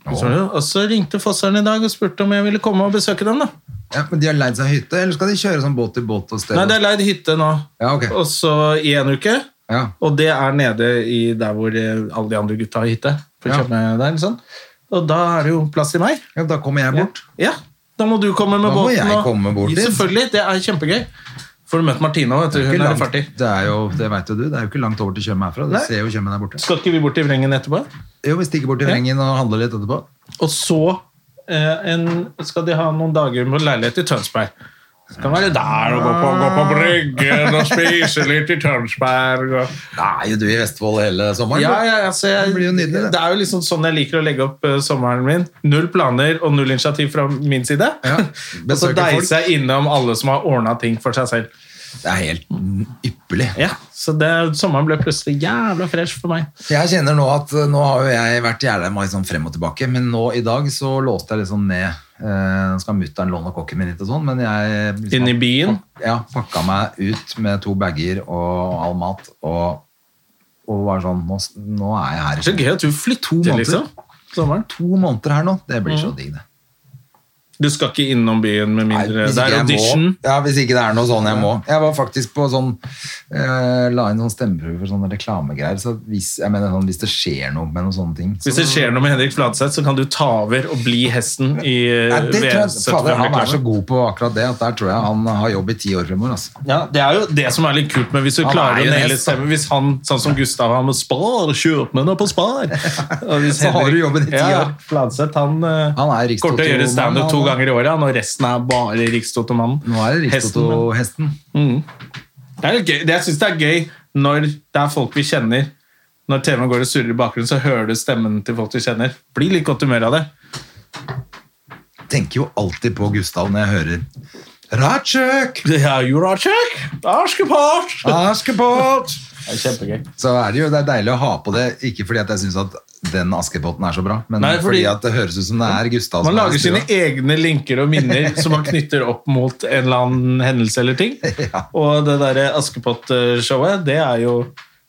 A: Og så ringte Fossern i dag og spurte om jeg ville komme og besøke dem da.
B: ja. Men de har leid seg hytte, eller skal de kjøre sånn båt til båt og sted?
A: Nei, det er leid hytte nå,
B: Ja, ok.
A: og så i en uke,
B: Ja.
A: og det er nede i der hvor eh, alle de andre gutta har hytte. For å
B: Ja.
A: kjøpe meg der, liksom. Og da er det jo plass til meg.
B: ja, da kommer jeg bort.
A: Ja, Da må du komme med
B: Da må
A: båten.
B: jeg
A: og-
B: komme bort dit.
A: Selvfølgelig, Det er kjempegøy. Får du møtt Martine òg, vet du.
B: Det er
A: Hun
B: ikke
A: er
B: langt-
A: ferdig.
B: Det er jo, det vet jo du, det er jo ikke langt over til Tjøme herfra. Du
A: Nei.
B: ser jo Tjøme der borte.
A: Skal ikke vi bort i Vrengen etterpå?
B: Jo, vi stikker bort til Vrengen og handler litt etterpå.
A: Og så eh, en, skal de ha noen dager med leilighet i Tønsberg. Så kan være der og gå på, gå på bryggen og spise litt i Tønsberg. Og,
B: Da er jo du i Vestfold hele sommeren.
A: ja, ja, altså jeg,
B: Det blir jo nydelig, det.
A: det er jo liksom sånn jeg liker å legge opp eh, sommeren min. Null planer og null initiativ fra min side.
B: Ja,
A: og så
B: besøker folk.
A: deise jeg innom alle som har ordna ting for seg selv.
B: Det er helt ypperlig.
A: Ja, Så det, sommeren ble plutselig jævla fresh for meg.
B: Jeg kjenner nå at eh, nå har jo jeg vært jævla mye sånn frem og tilbake, men nå i dag så låste jeg liksom ned. eh, Nå skal mutter'n låne kokken min litt og sånn, men jeg liksom,
A: Inn i byen?
B: Ja, pakka meg ut med to bager og all mat og, og var sånn nå, nå er jeg her.
A: Det er så gøy at du flytter,
B: måneder.
A: liksom. Sommeren.
B: To måneder her nå, det blir så digg, det.
A: Du skal ikke innom byen med
B: Nei,
A: Mm. mindre
B: hvis
A: det
B: ikke
A: er
B: jeg
A: audition.
B: Må, ja, hvis ikke det er noe sånn jeg må. Jeg var faktisk på sånn eh, La inn sånn stemmeprøve for sånne reklamegreier. Så hvis, jeg mener sånn, hvis det skjer noe med noen sånne ting så,
A: Hvis det skjer noe med Henrik Fladseth, så kan du ta over og bli hesten i eh,
B: Nei, det tror jeg, fader, Han er så
A: VM-75-reklame.
B: god på akkurat det at der tror jeg han har jobb i ti år fremover. Altså.
A: Ja, det er jo det som er litt kult med hvis du
B: Han er
A: klarer
B: jo en
A: å naile
B: hest, da.
A: stemmen. Hvis han, sånn som Gustav, han må spar, kjøp med noe på spar. Og hvis
B: Så har
A: Henrik-
B: du jobben i ti
A: ja,
B: år.
A: Fladseth, han, eh,
B: Han er Rikstoto-
A: kommer til å gjøre standup
B: mann,
A: to
B: han, da.
A: ganger i året, han, og resten er bare Rikstotomannen.
B: Nå er det
A: Hesten, men-
B: Rikstoto-hesten.
A: Det er litt gøy. Det- Jeg syns det er gøy når det er folk vi kjenner. Når TV-en går og surrer i bakgrunnen, så hører du stemmen til folk du kjenner. Blir litt godt humør av det.
B: Tenker jo alltid på Gustav når jeg hører Ratsjøk!
A: Det er Juracek! Askepott!
B: Askepott!
A: Det er kjempegøy.
B: Så er det jo det er deilig å ha på det, ikke fordi at jeg syns at den Askepotten er så bra, men
A: Nei,
B: fordi,
A: fordi-
B: at det høres ut som det er Gustav
A: Man
B: som er i
A: lager
B: stua.
A: sine egne linker og minner som man knytter opp mot en eller annen hendelse eller ting.
B: Ja.
A: Og det derre Askepott-showet, det er jo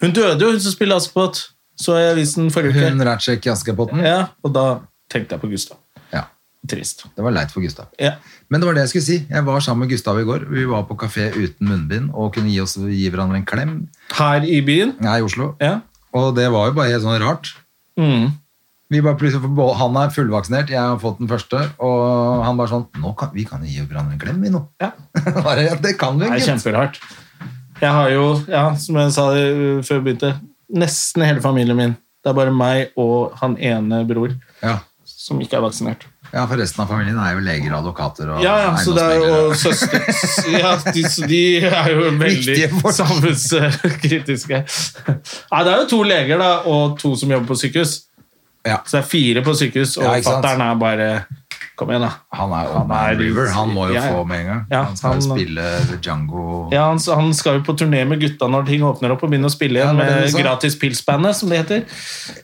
A: Hun døde jo, hun som spiller Askepott. Så jeg i avisen forrige
B: Hun
A: uke.
B: Ratsjek i Askepotten?
A: Ja, og da tenkte jeg på Gustav.
B: Ja.
A: Trist.
B: Det var leit for Gustav.
A: Ja.
B: Men det var det jeg skulle si. Jeg var sammen med Gustav i går. Vi var på kafé uten munnbind og kunne gi, oss, gi hverandre en klem.
A: Her i byen.
B: Nei, i Oslo.
A: Ja.
B: Og det var jo bare helt sånn rart.
A: Mm.
B: Vi bare plutselig, for både- Han er fullvaksinert, jeg har fått den første. Og han bare sånn nå kan, Vi kan jo gi hverandre en klem, vi nå.
A: Ja.
B: Bare, ja, det kan vi
A: Det er
B: ikke.
A: kjemperart. Jeg har jo, ja, som jeg sa uh, før jeg begynte, nesten hele familien min. Det er bare meg og han ene bror
B: Ja.
A: som ikke er vaksinert.
B: ja, for resten av familien er jo leger og advokater og
A: Ja, ja, så det er jo søster ja, de, så de er jo veldig
B: Viktige folk.
A: samfunnskritiske. Nei, det er jo to leger da, og to som jobber på sykehus.
B: Ja.
A: Så det er fire på sykehus, og
B: Ja, ikke sant?
A: fatter'n er bare Kom igjen, da.
B: Han er Old
A: Han
B: Man
A: er-
B: River. Han må jo
A: Ja, ja.
B: få med en gang.
A: Ja,
B: han skal jo
A: han-
B: spille Django
A: Ja, han, han skal jo på turné med gutta når ting åpner opp, og begynne å spille
B: Ja, det
A: igjen
B: var det
A: med
B: du sa.
A: Gratis Pils-bandet, som det heter.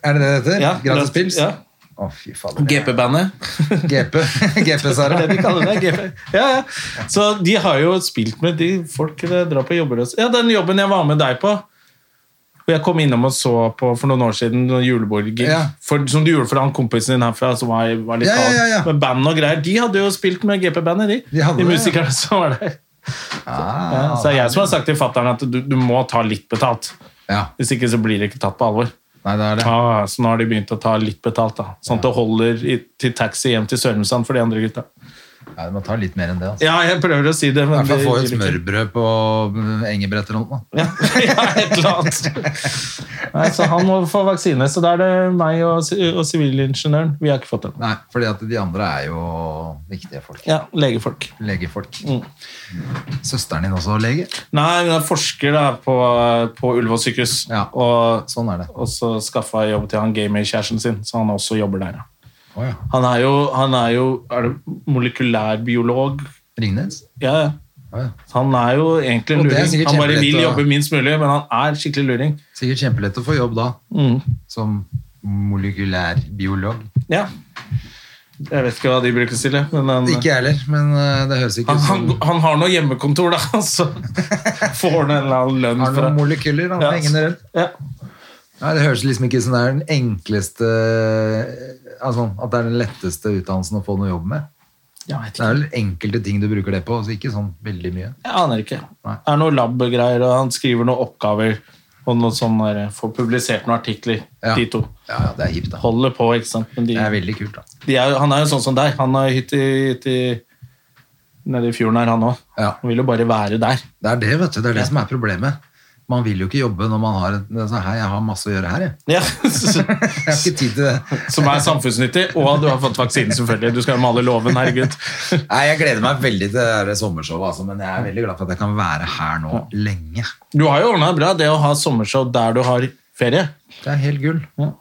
B: Er det det det heter?
A: Ja,
B: Gratis pils?
A: Ja.
B: Å, fy fader.
A: GP-bandet.
B: GP. GP,
A: Det
B: Sara.
A: er det de kaller det. GP. Ja, ja. Så de har jo spilt med de folk det drar på jobber hos. Ja, den jobben jeg var med deg på og jeg kom innom og så på for noen år siden noen julebordgig
B: Ja.
A: for- som du gjorde for han kompisen din herfra. som var, var litt
B: Ja, ja, ja, ja.
A: gal, Med band og greier. De hadde jo spilt med GP-bandet, de.
B: De hadde det, ja.
A: musikerne som var der. Ja,
B: Ah,
A: så det er jeg som har sagt til fatter'n at du, du må ta litt betalt.
B: ja.
A: Hvis ikke så blir det ikke tatt på alvor.
B: Nei, det er det.
A: Ah, så nå har de begynt å ta litt betalt, da. Sånn at det holder i, til taxi hjem til Sørumsand for de andre gutta.
B: Nei, du må ta litt mer enn det. Altså.
A: Ja, jeg prøver å si det,
B: I
A: men
B: hvert fall
A: det
B: få et
A: gir ikke.
B: smørbrød på eh, Engebrett eller noe. da.
A: Ja, ja, et eller annet. Nei, så han må få vaksine. Så da er det meg og, si- og sivilingeniøren. Vi har ikke fått den.
B: Nei, fordi at de andre er jo viktige folk.
A: Ja, legefolk.
B: Legefolk.
A: Mm.
B: Søsteren din også lege?
A: Nei, hun er forsker da, på, på Ullevål sykehus.
B: Ja.
A: Og,
B: Sånn er det.
A: og så skaffa jeg jobb til han gamer-kjæresten sin, så han også jobber der. Ja.
B: Å ja.
A: Han er jo, han er jo er det molekylærbiolog.
B: Ringnes?
A: Ja, ja.
B: Å ja.
A: Han er jo egentlig en
B: Og det er
A: luring.
B: sikkert
A: Han bare
B: kjempelett
A: vil
B: å-
A: jobbe minst mulig, men han er skikkelig luring.
B: Sikkert kjempelett å få jobb da,
A: Mm.
B: som molekylærbiolog.
A: Ja. Jeg vet ikke hva de brukes til, jeg, men han,
B: Ikke jeg heller, men eh, det høres ikke
A: Mm. han,
B: ut
A: han,
B: som
A: han har noe hjemmekontor, da, så får han en eller annen lønn
B: Har
A: fra
B: noen molekyler, han
A: Ja.
B: hengende rundt.
A: ja.
B: Nei, det høres liksom ikke ut som det er den enkleste Altså at det er den letteste utdannelsen å få noe jobb med.
A: Jeg vet
B: Det er
A: ikke.
B: vel enkelte ting du bruker det på, så ikke sånn veldig mye.
A: Jeg aner ikke.
B: Nei.
A: Det er noe lab-greier, og han skriver noen oppgaver og noe sånn der, får publisert noen artikler,
B: Ja.
A: de to.
B: Ja, ja, det er hipt, da.
A: Holder på, ikke sant. Men de,
B: Det er veldig kult, da.
A: de er, jo- han er jo sånn som deg. Han har hytte i- hytte i- nede i fjorden her, han òg.
B: Ja.
A: Han vil jo bare være der.
B: Det er det, vet du. Det er det som er problemet. Man vil jo ikke jobbe når man har et så, Hei, jeg har masse å gjøre her, jeg.
A: Ja.
B: Jeg har ikke tid til det.
A: Som er samfunnsnyttig. Og du har fått vaksinen, selvfølgelig. Du skal jo male låven, herregud.
B: Nei, Jeg gleder meg veldig til det her sommershowet, altså, men jeg er veldig glad for at jeg kan være her nå lenge.
A: Du har jo ordna det bra, det å ha sommershow der du har ferie.
B: Det er helt gull. Det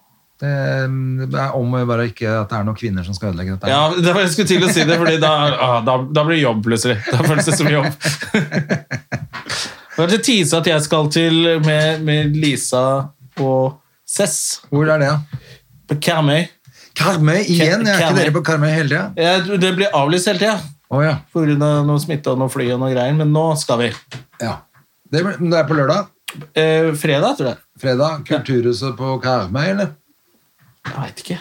B: det er om å gjøre bare ikke at det er noen kvinner som skal ødelegge dette.
A: Ja, det var Jeg skulle til å si det, fordi da, ah, da, da blir det jobb plutselig. Da føles det som jobb. Det var til tise at jeg skal til med, med Lisa og Cess
B: Hvor er det, da?
A: på Karmøy.
B: Karmøy igjen? Jeg er ikke
A: Karmøy.
B: dere på Karmøy hele tida?
A: Jeg- Det blir avlyst hele tida
B: Å ja.
A: pga. noe smitte og noe fly og noe greier, men nå skal vi.
B: ja. Det, blir- men det er på lørdag?
A: Eh, fredag, tror jeg.
B: Fredag? Kulturhuset på Karmøy, eller?
A: Jeg veit ikke.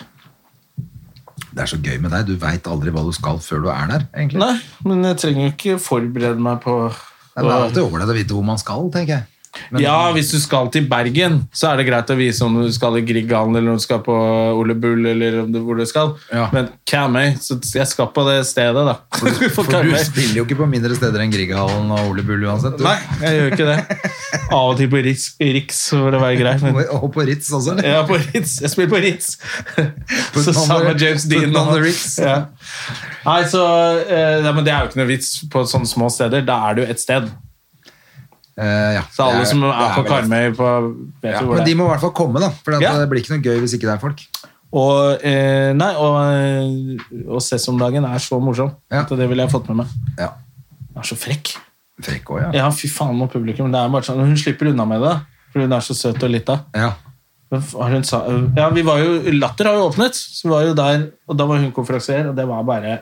B: Det er så gøy med deg. Du veit aldri hva du skal før du er der, egentlig.
A: Nei, men jeg trenger jo ikke forberede meg på
B: Det er alltid ålreit å vite hvor man skal, tenker jeg. Men
A: ja, hvis du skal til Bergen, så er det greit å vise om du skal i Grieghallen eller om du skal på Ole Bull eller om du, hvor du skal.
B: Ja.
A: Men Karmøy, så jeg skal på det stedet, da. For
B: for du
A: Karmøy.
B: spiller jo ikke på mindre steder enn Grieghallen og Ole Bull uansett. Du.
A: Nei, jeg gjør ikke det. Av og til på Riks, Riks så får det være greit. Men
B: Og på Ritz også, eller?
A: ja, på Ritz. Jeg spiller på Ritz.
B: Put
A: Så
B: on
A: sammen
B: the-
A: med James
B: put
A: Dean.
B: on
A: og-
B: the Ritz.
A: Ja. Nei, så, eh, nei, men det er jo ikke noe vits på sånne små steder. Da er det jo ett sted.
B: Eh, ja.
A: Så alle
B: Det
A: som
B: det
A: er på
B: vel-
A: Karmøy, på, vet
B: Ja,
A: jo hvor
B: men
A: det
B: de
A: er.
B: må i hvert fall komme, da. For at
A: Ja.
B: det blir ikke noe gøy hvis ikke det er folk.
A: Og, eh, nei, og, eh, og Sess om dagen er så morsom.
B: Ja.
A: At det ville jeg fått med meg.
B: Ja.
A: Hun er så frekk.
B: Frekk også, ja.
A: Ja, fy faen med publikum. Det er bare sånn, hun slipper unna med det. For hun er så søt og lita.
B: Ja.
A: Men Har hun sa, eh, ja, vi var jo, Latter har jo åpnet, så vi var jo der, og da var hun konferansier, og det var bare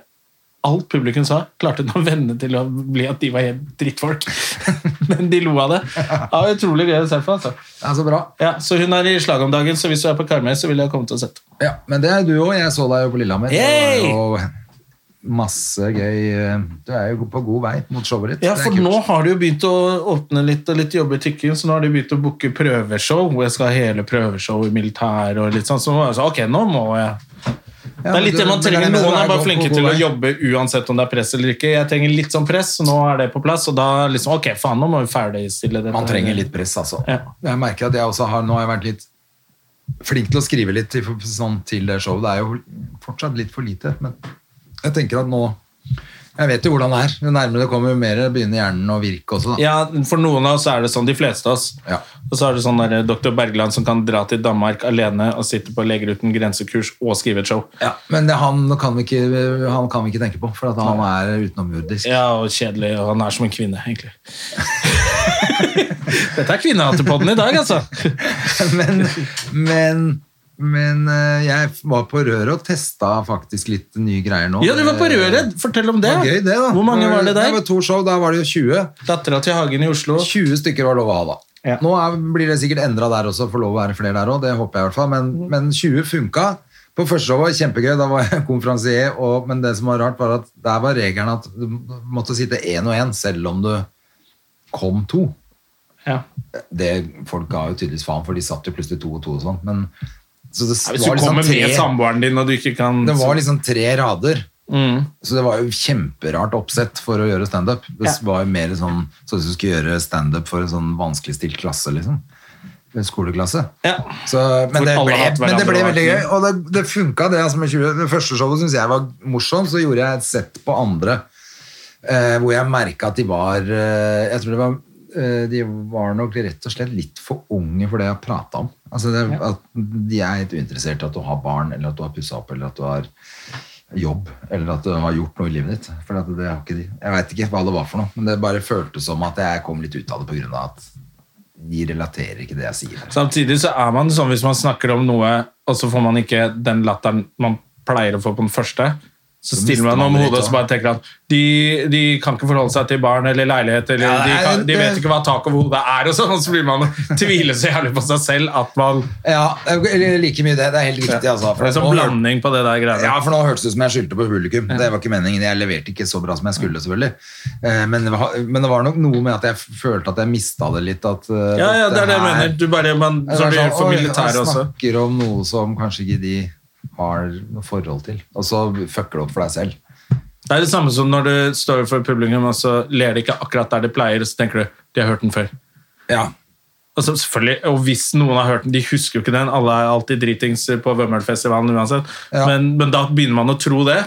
A: Alt publikum sa, klarte hun å vende til å bli at de var helt drittfolk. Men de lo av det. Ja, utrolig gøy å se på. Altså.
B: Det er så bra.
A: Ja, så hun er i slaget om dagen, så hvis du er på Karmøy, så vil jeg komme til å sette.
B: Ja, men det er du òg. Jeg så deg jo på Lillehammer. Det
A: Yay!
B: var jo masse gøy eh, Du er jo på god vei mot showet ditt.
A: Ja,
B: Det er
A: for
B: kult.
A: nå har de jo begynt å åpne litt, og litt jobber tikker, så nå har de begynt å booke prøveshow, hvor jeg skal ha hele prøveshow i militæret og litt sånn. Så nå er jeg sånn, ok, nå må jeg.
B: Ja,
A: det er
B: men
A: litt
B: du-
A: det man
B: men jeg
A: trenger.
B: mener
A: Noen
B: det
A: er bare
B: godt
A: flinke
B: på
A: til
B: god
A: å
B: vei.
A: jobbe uansett om det er press eller ikke. Jeg trenger litt sånn press, så nå er det på plass, og da liksom, ok, faen, nå må vi ferdigstille dette.
B: Man trenger litt press, altså.
A: Ja.
B: Jeg merker at jeg også har Nå har jeg vært litt flink til å skrive litt til, sånn, til det showet. Det er jo fortsatt litt for lite, men jeg tenker at nå Jeg vet jo hvordan det er. Jo nærmere det kommer, jo mer begynner hjernen å virke også. Da.
A: Ja, for noen av oss er det sånn, de fleste av oss.
B: Ja.
A: Og så er det sånn der, Dr. Bergland som kan dra til Danmark alene og sitte på Leger uten grensekurs og skrive et show.
B: Ja, men det, han, kan vi ikke, han kan vi ikke tenke på, for at han er utenomjordisk.
A: Ja, og kjedelig, og han er som en kvinne, egentlig. Dette er kvinnehatepodden i dag, altså.
B: men, men, men eh, jeg var på røret og testa faktisk litt nye greier nå.
A: Ja, du var på Røret. Fortell om det.
B: Det var gøy, det, da.
A: Hvor mange var det
B: Det
A: der?
B: var to show, da var det jo 20.
A: Dattera til Hagen i Oslo.
B: 20 stykker var lov å ha, da.
A: Ja.
B: Nå er, blir det sikkert endra der også, for lov å være flere der òg, det håper jeg i hvert fall, men, men 20 funka. På første show var det kjempegøy, da var jeg konferansier, og, men det som var rart, var at der var regelen at du måtte sitte én og én, selv om du kom to.
A: Ja.
B: det, Folk ga jo tydeligvis faen, for de satt jo plutselig to og to og sånn. Men så det
A: Hvis
B: var
A: du
B: liksom
A: kommer med
B: tre,
A: samboeren din, og du ikke kan
B: det var liksom tre rader.
A: mm.
B: Så det var jo kjemperart oppsett for å gjøre standup. Det
A: Ja.
B: var jo mer sånn så du skulle gjøre standup for en sånn vanskeligstilt klasse, liksom. En skoleklasse.
A: Ja.
B: Så, men,
A: Hvor
B: det
A: alle
B: ble,
A: hatt
B: men det ble
A: hverandre
B: veldig
A: og
B: gøy, og det, det funka, det. Altså med 20, det første showet syns jeg var morsomt, så gjorde jeg et sett på andre eh, hvor jeg merka at de var eh, Jeg tror det var eh, de var nok rett og slett litt for unge for det jeg prata om. Altså det, at De er helt uinteressert i at du har barn, eller at du har pussa opp, eller at du har jobb, eller at du har gjort noe i livet ditt. For at det har ikke de. Jeg veit ikke hva det var for noe, men det bare føltes som at jeg kom litt ut av det på grunn av at de relaterer ikke det jeg sier.
A: Samtidig så er man sånn hvis man snakker om noe, og så får man ikke den latteren man pleier å få på den første. Så
B: Så
A: stiller
B: mister
A: man om
B: man litt,
A: hodet og så
B: da.
A: bare tenker at de, de kan ikke forholde seg til barn eller leilighet, eller
B: Ja,
A: de,
B: nei,
A: kan, de
B: det-
A: vet ikke hva tak over hodet er, og sånn, og så blir man tviler så jævlig på seg selv at man
B: Ja, eller like mye det. Det er helt riktig, altså.
A: For det er sånn
B: nå hør-
A: blanding på det der greiene.
B: ja, for nå hørtes det ut som jeg skyldte på publikum. Det var ikke meningen. Jeg leverte ikke så bra som jeg skulle, selvfølgelig. Eh, Men, det var- men det var nok noe med at jeg følte at jeg mista det litt. At, eh,
A: Ja, ja, det er det jeg
B: her-
A: mener. Du bare, man,
B: Det
A: så
B: var
A: du
B: sånn,
A: gjør for
B: «Oi,
A: militæret
B: han
A: også.
B: snakker om noe som kanskje ikke de har noe forhold til. Og så fucker du opp for deg selv.
A: Det er det samme som når du står for publikum, og så ler de ikke akkurat der de pleier, og så tenker du de har hørt den før.
B: Ja.
A: Og, så Altså, selvfølgelig, og hvis noen har hørt den, de husker jo ikke den, alle er alltid dritings på Vømmølfestivalen uansett,
B: Ja.
A: men, men da begynner man å tro det,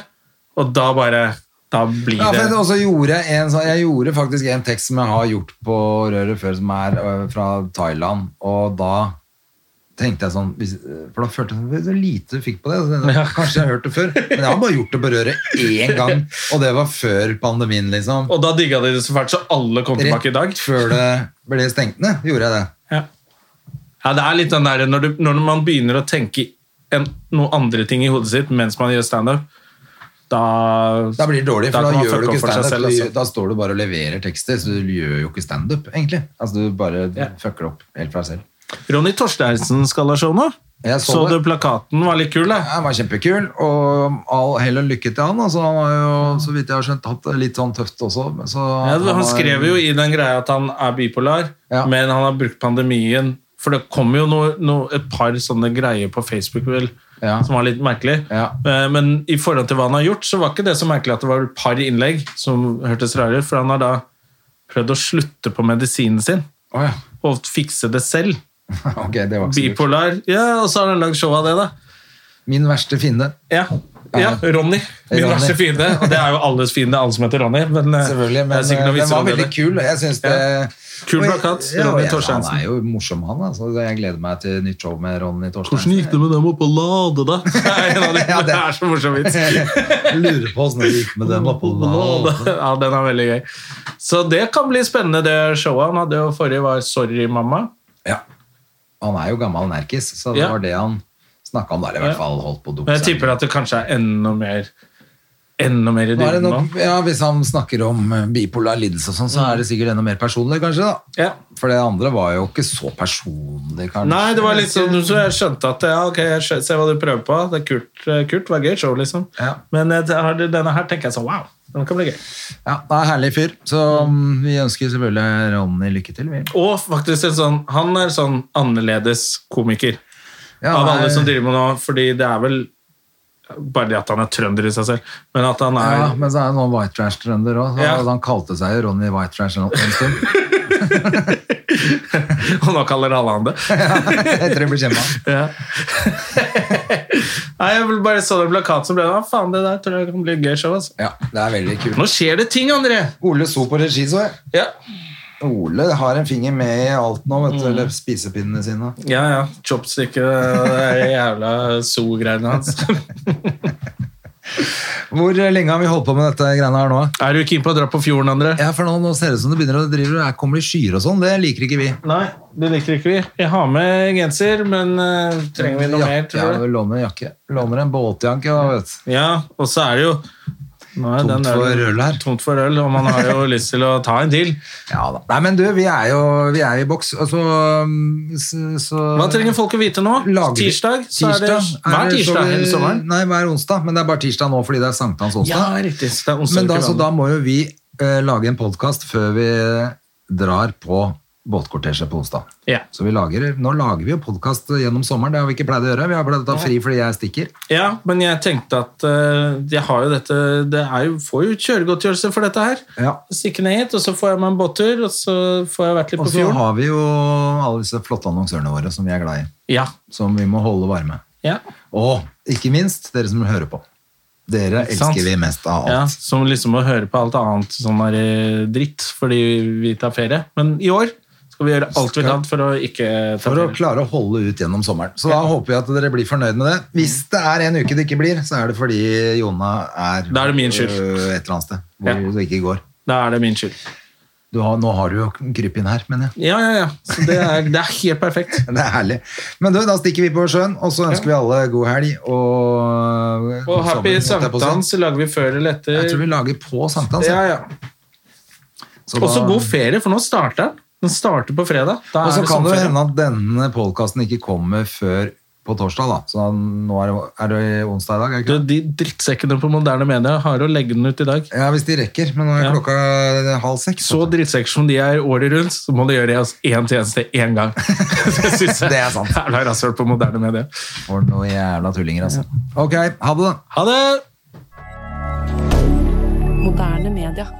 A: og da bare, da blir
B: Ja, for jeg,
A: det...
B: også gjorde en, sånn- jeg gjorde faktisk en tekst som jeg har gjort på røret før, som er øh, fra Thailand. Og da tenkte jeg sånn hvis- For da følte jeg sånn, så lite du fikk på det. Så tenkte jeg, Kanskje jeg har hørt det før. Men jeg har bare gjort det på røret én gang, og det var før pandemien, liksom.
A: Og da digget de det så fælt, så alle kom tilbake i dag.
B: Rett før det ble stengt ned, gjorde jeg det.
A: Ja. ja, det er litt den der når, du, når man begynner å tenke en, noen andre ting i hodet sitt mens man gjør standup, da
B: Da blir det dårlig, for
A: Da
B: da,
A: kan man
B: gjør du
A: fucke
B: ikke
A: opp for seg
B: standup.
A: selv,
B: du
A: altså.
B: gjør- Da står du bare og leverer tekster, så du gjør jo ikke standup, egentlig. Altså, du bare
A: Ja.
B: fucker opp helt fra deg selv.
A: Ronny Torsteinsen skal ha show nå.
B: Jeg så
A: Så du
B: det.
A: plakaten var litt kul, da?
B: Han var kjempekul, og all hell og lykke til han. Altså, han har jo, så vidt jeg har skjønt, hatt det litt sånn tøft også. men Så
A: Ja,
B: var-
A: han skrev jo i den greia at han er bipolar,
B: Ja.
A: men han har brukt pandemien For det kom jo noe, noe, et par sånne greier på Facebook vel,
B: Ja.
A: som var litt merkelig.
B: Ja.
A: Eh, Men i forhold til hva han har gjort, så var ikke det så merkelig at det var et par innlegg som hørtes rare ut, for han har da prøvd å slutte på medisinen sin
B: Å ja.
A: og fikse det selv.
B: Ok, det var ikke så lurt.
A: Bipolar. Ja, og så har han lagd show av det, da.
B: Min verste fiende.
A: Ja, ja Ronny. Min
B: Ronny.
A: verste fiende. Og det er jo alles fiende, alle som heter Ronny. Men, eh,
B: Selvfølgelig,
A: det er
B: men
A: sikkert noen
B: eh, den
A: vitser
B: var
A: om det.
B: veldig kul. og Jeg synes det...
A: Ja. Kul
B: og jeg-
A: plakat,
B: ja, og
A: Ronny
B: jeg-
A: Torsteinsen.
B: Han er jo morsom, han. Altså. Jeg gleder meg til nytt show med Ronny Torsteinsen.
A: Hvordan gikk det med dem oppe på Lade, da? Det er en av de-
B: Ja, det-
A: Det er så morsom vits.
B: Lurer på hvordan det gikk med dem oppe på Lade.
A: Ja, den er veldig gøy. Så det kan bli spennende, det showet. Han hadde jo forrige var 'Sorry, mamma'.
B: Ja. Han er jo gammel nerkis, så det
A: Ja.
B: var det han snakka om der. I hvert
A: Ja.
B: fall holdt på å
A: Men
B: dope
A: jeg tipper at det kanskje er enda mer Enda mer i
B: Nå er det
A: dybden nå. Mm.
B: nok, ja, Hvis han snakker om eh, bipolar lidelse og sånn, så er det sikkert enda mer personlig, kanskje. da.
A: Ja.
B: For det andre var jo ikke så personlig, kanskje.
A: Nei, det var litt sånn, så jeg skjønte at ja, ok, jeg skjø- se hva du prøver på. Det er kult, eh, kult det var gøy show, liksom.
B: Ja.
A: Men eh, det har- denne her tenker jeg sånn, wow, den kan bli gøy.
B: Ja, det er en Herlig fyr. Så mm, vi ønsker selvfølgelig Ronny lykke til. Vi.
A: Og faktisk en sånn, han er sånn annerledes komiker
B: Ja,
A: av
B: nei,
A: alle som driver med noe, fordi det er vel bare det at han er trønder i seg selv, men at han er...
B: ja, men så er det noen White Trash-trønder òg.
A: Ja.
B: Han kalte seg jo Ronny White Trash en en stund.
A: Og nå kaller alle han det.
B: Etter det ble kjempa.
A: Ja. Nei, jeg vil bare så den plakaten som ble, ah, faen, det der tror jeg kan bli et gøy show, altså.
B: Ja, det er veldig kult.
A: Nå skjer det ting, André!
B: Ole so på regi, så jeg.
A: Ja,
B: Ole har en finger med i alt nå,
A: Mm.
B: vet du. Eller spisepinnene sine.
A: ja, ja. Chopstick og det jævla so-greiene hans.
B: Hvor lenge har vi holdt på med dette greiene her nå?
A: Er du keen på å dra på fjorden, André?
B: Ja, for nå, nå ser det ut som det begynner å drive, her kommer det skyer og sånn. Det liker ikke vi.
A: Nei, det liker ikke vi. Jeg har med genser, men eh, trenger vi noe mer, tror
B: Ja,
A: du?
B: vi låner en jakke. Låner en båtjakke, da, vet du.
A: Ja, og så er det jo Nå er
B: Tomt
A: den der-
B: for øl her.
A: Tomt for øl, og man har jo lyst til å ta en til.
B: Ja da. Nei, men du, vi er jo vi er i boks, og så, um, så, så
A: Hva trenger folk å vite nå?
B: lager vi-
A: Tirsdag? Så er det,
B: Tirsdag
A: hver
B: er det- så
A: tirsdag
B: vi-
A: hele sommeren?
B: Nei, hver onsdag. Men det er bare tirsdag nå fordi det er sankthans onsdag.
A: Ja, riktig. Så det er onsdag
B: Men da,
A: uke
B: så
A: vanlig.
B: da må jo vi eh, lage en podkast før vi eh, drar på båtkortesje på onsdag.
A: Ja.
B: Så vi lager, Nå lager vi jo podkast gjennom sommeren, det har vi ikke pleid å gjøre. Vi har pleid å ta fri fordi jeg stikker.
A: ja, men jeg tenkte at eh, jeg har jo dette Det er jo, får jo kjøregodtgjørelse for dette her.
B: Ja.
A: Stikke ned hit, og så får jeg meg en båttur, og så får jeg vært litt
B: Og
A: på
B: så
A: fjorden.
B: har vi jo alle disse flotte annonsørene våre som vi er glad i,
A: Ja.
B: som vi må holde varme.
A: ja.
B: Og ikke minst dere som hører på. Dere
A: Ikke sant?
B: elsker vi mest av
A: Ja,
B: alt.
A: som liksom å høre på alt annet sånn der eh, dritt fordi vi tar ferie. Men i år skal vi gjøre alt vi
B: Skal-
A: kan for å ikke ta
B: For å
A: ferie.
B: klare å holde ut gjennom sommeren. Så da håper vi at dere blir fornøyd med det. Hvis
A: Mm.
B: det er en uke det ikke blir, så er det fordi Jonna er,
A: Da er det min skyld.
B: øh, et eller annet sted hvor
A: Ja.
B: det ikke går.
A: Da er det min skyld.
B: Du har, nå har du jo kryp inn her, mener jeg.
A: Ja, ja, ja. Så det er, det er helt perfekt.
B: Det er herlig. Men du, da stikker vi på sjøen, og så ønsker vi alle god helg og god
A: Og
B: sommer,
A: happy
B: holdt jeg på å si.
A: sankthans lager vi før eller etter.
B: Jeg tror vi lager på sankthans.
A: ja,
B: ja.
A: ja.
B: Så da-
A: Også god ferie, for nå starter den. Den starter på fredag. Da
B: Og
A: er
B: så
A: det
B: kan det jo
A: sommerferie.
B: hende at denne podkasten ikke kommer før på torsdag, da. Så nå er det, er det onsdag i dag, er det
A: Du,
B: ikke?
A: de drittsekkene på moderne media har å legge den ut i dag.
B: Ja, hvis de rekker, men nå er
A: Ja.
B: klokka halv seks.
A: Så drittsekker som de er året rundt, så må de gjøre oss én tjeneste én gang. det syns jeg
B: Det er sant.
A: Jævla rasshøl på moderne media.
B: For noen jævla tullinger, altså. Ok, ha det, da.
A: Ha det!
C: Moderne media.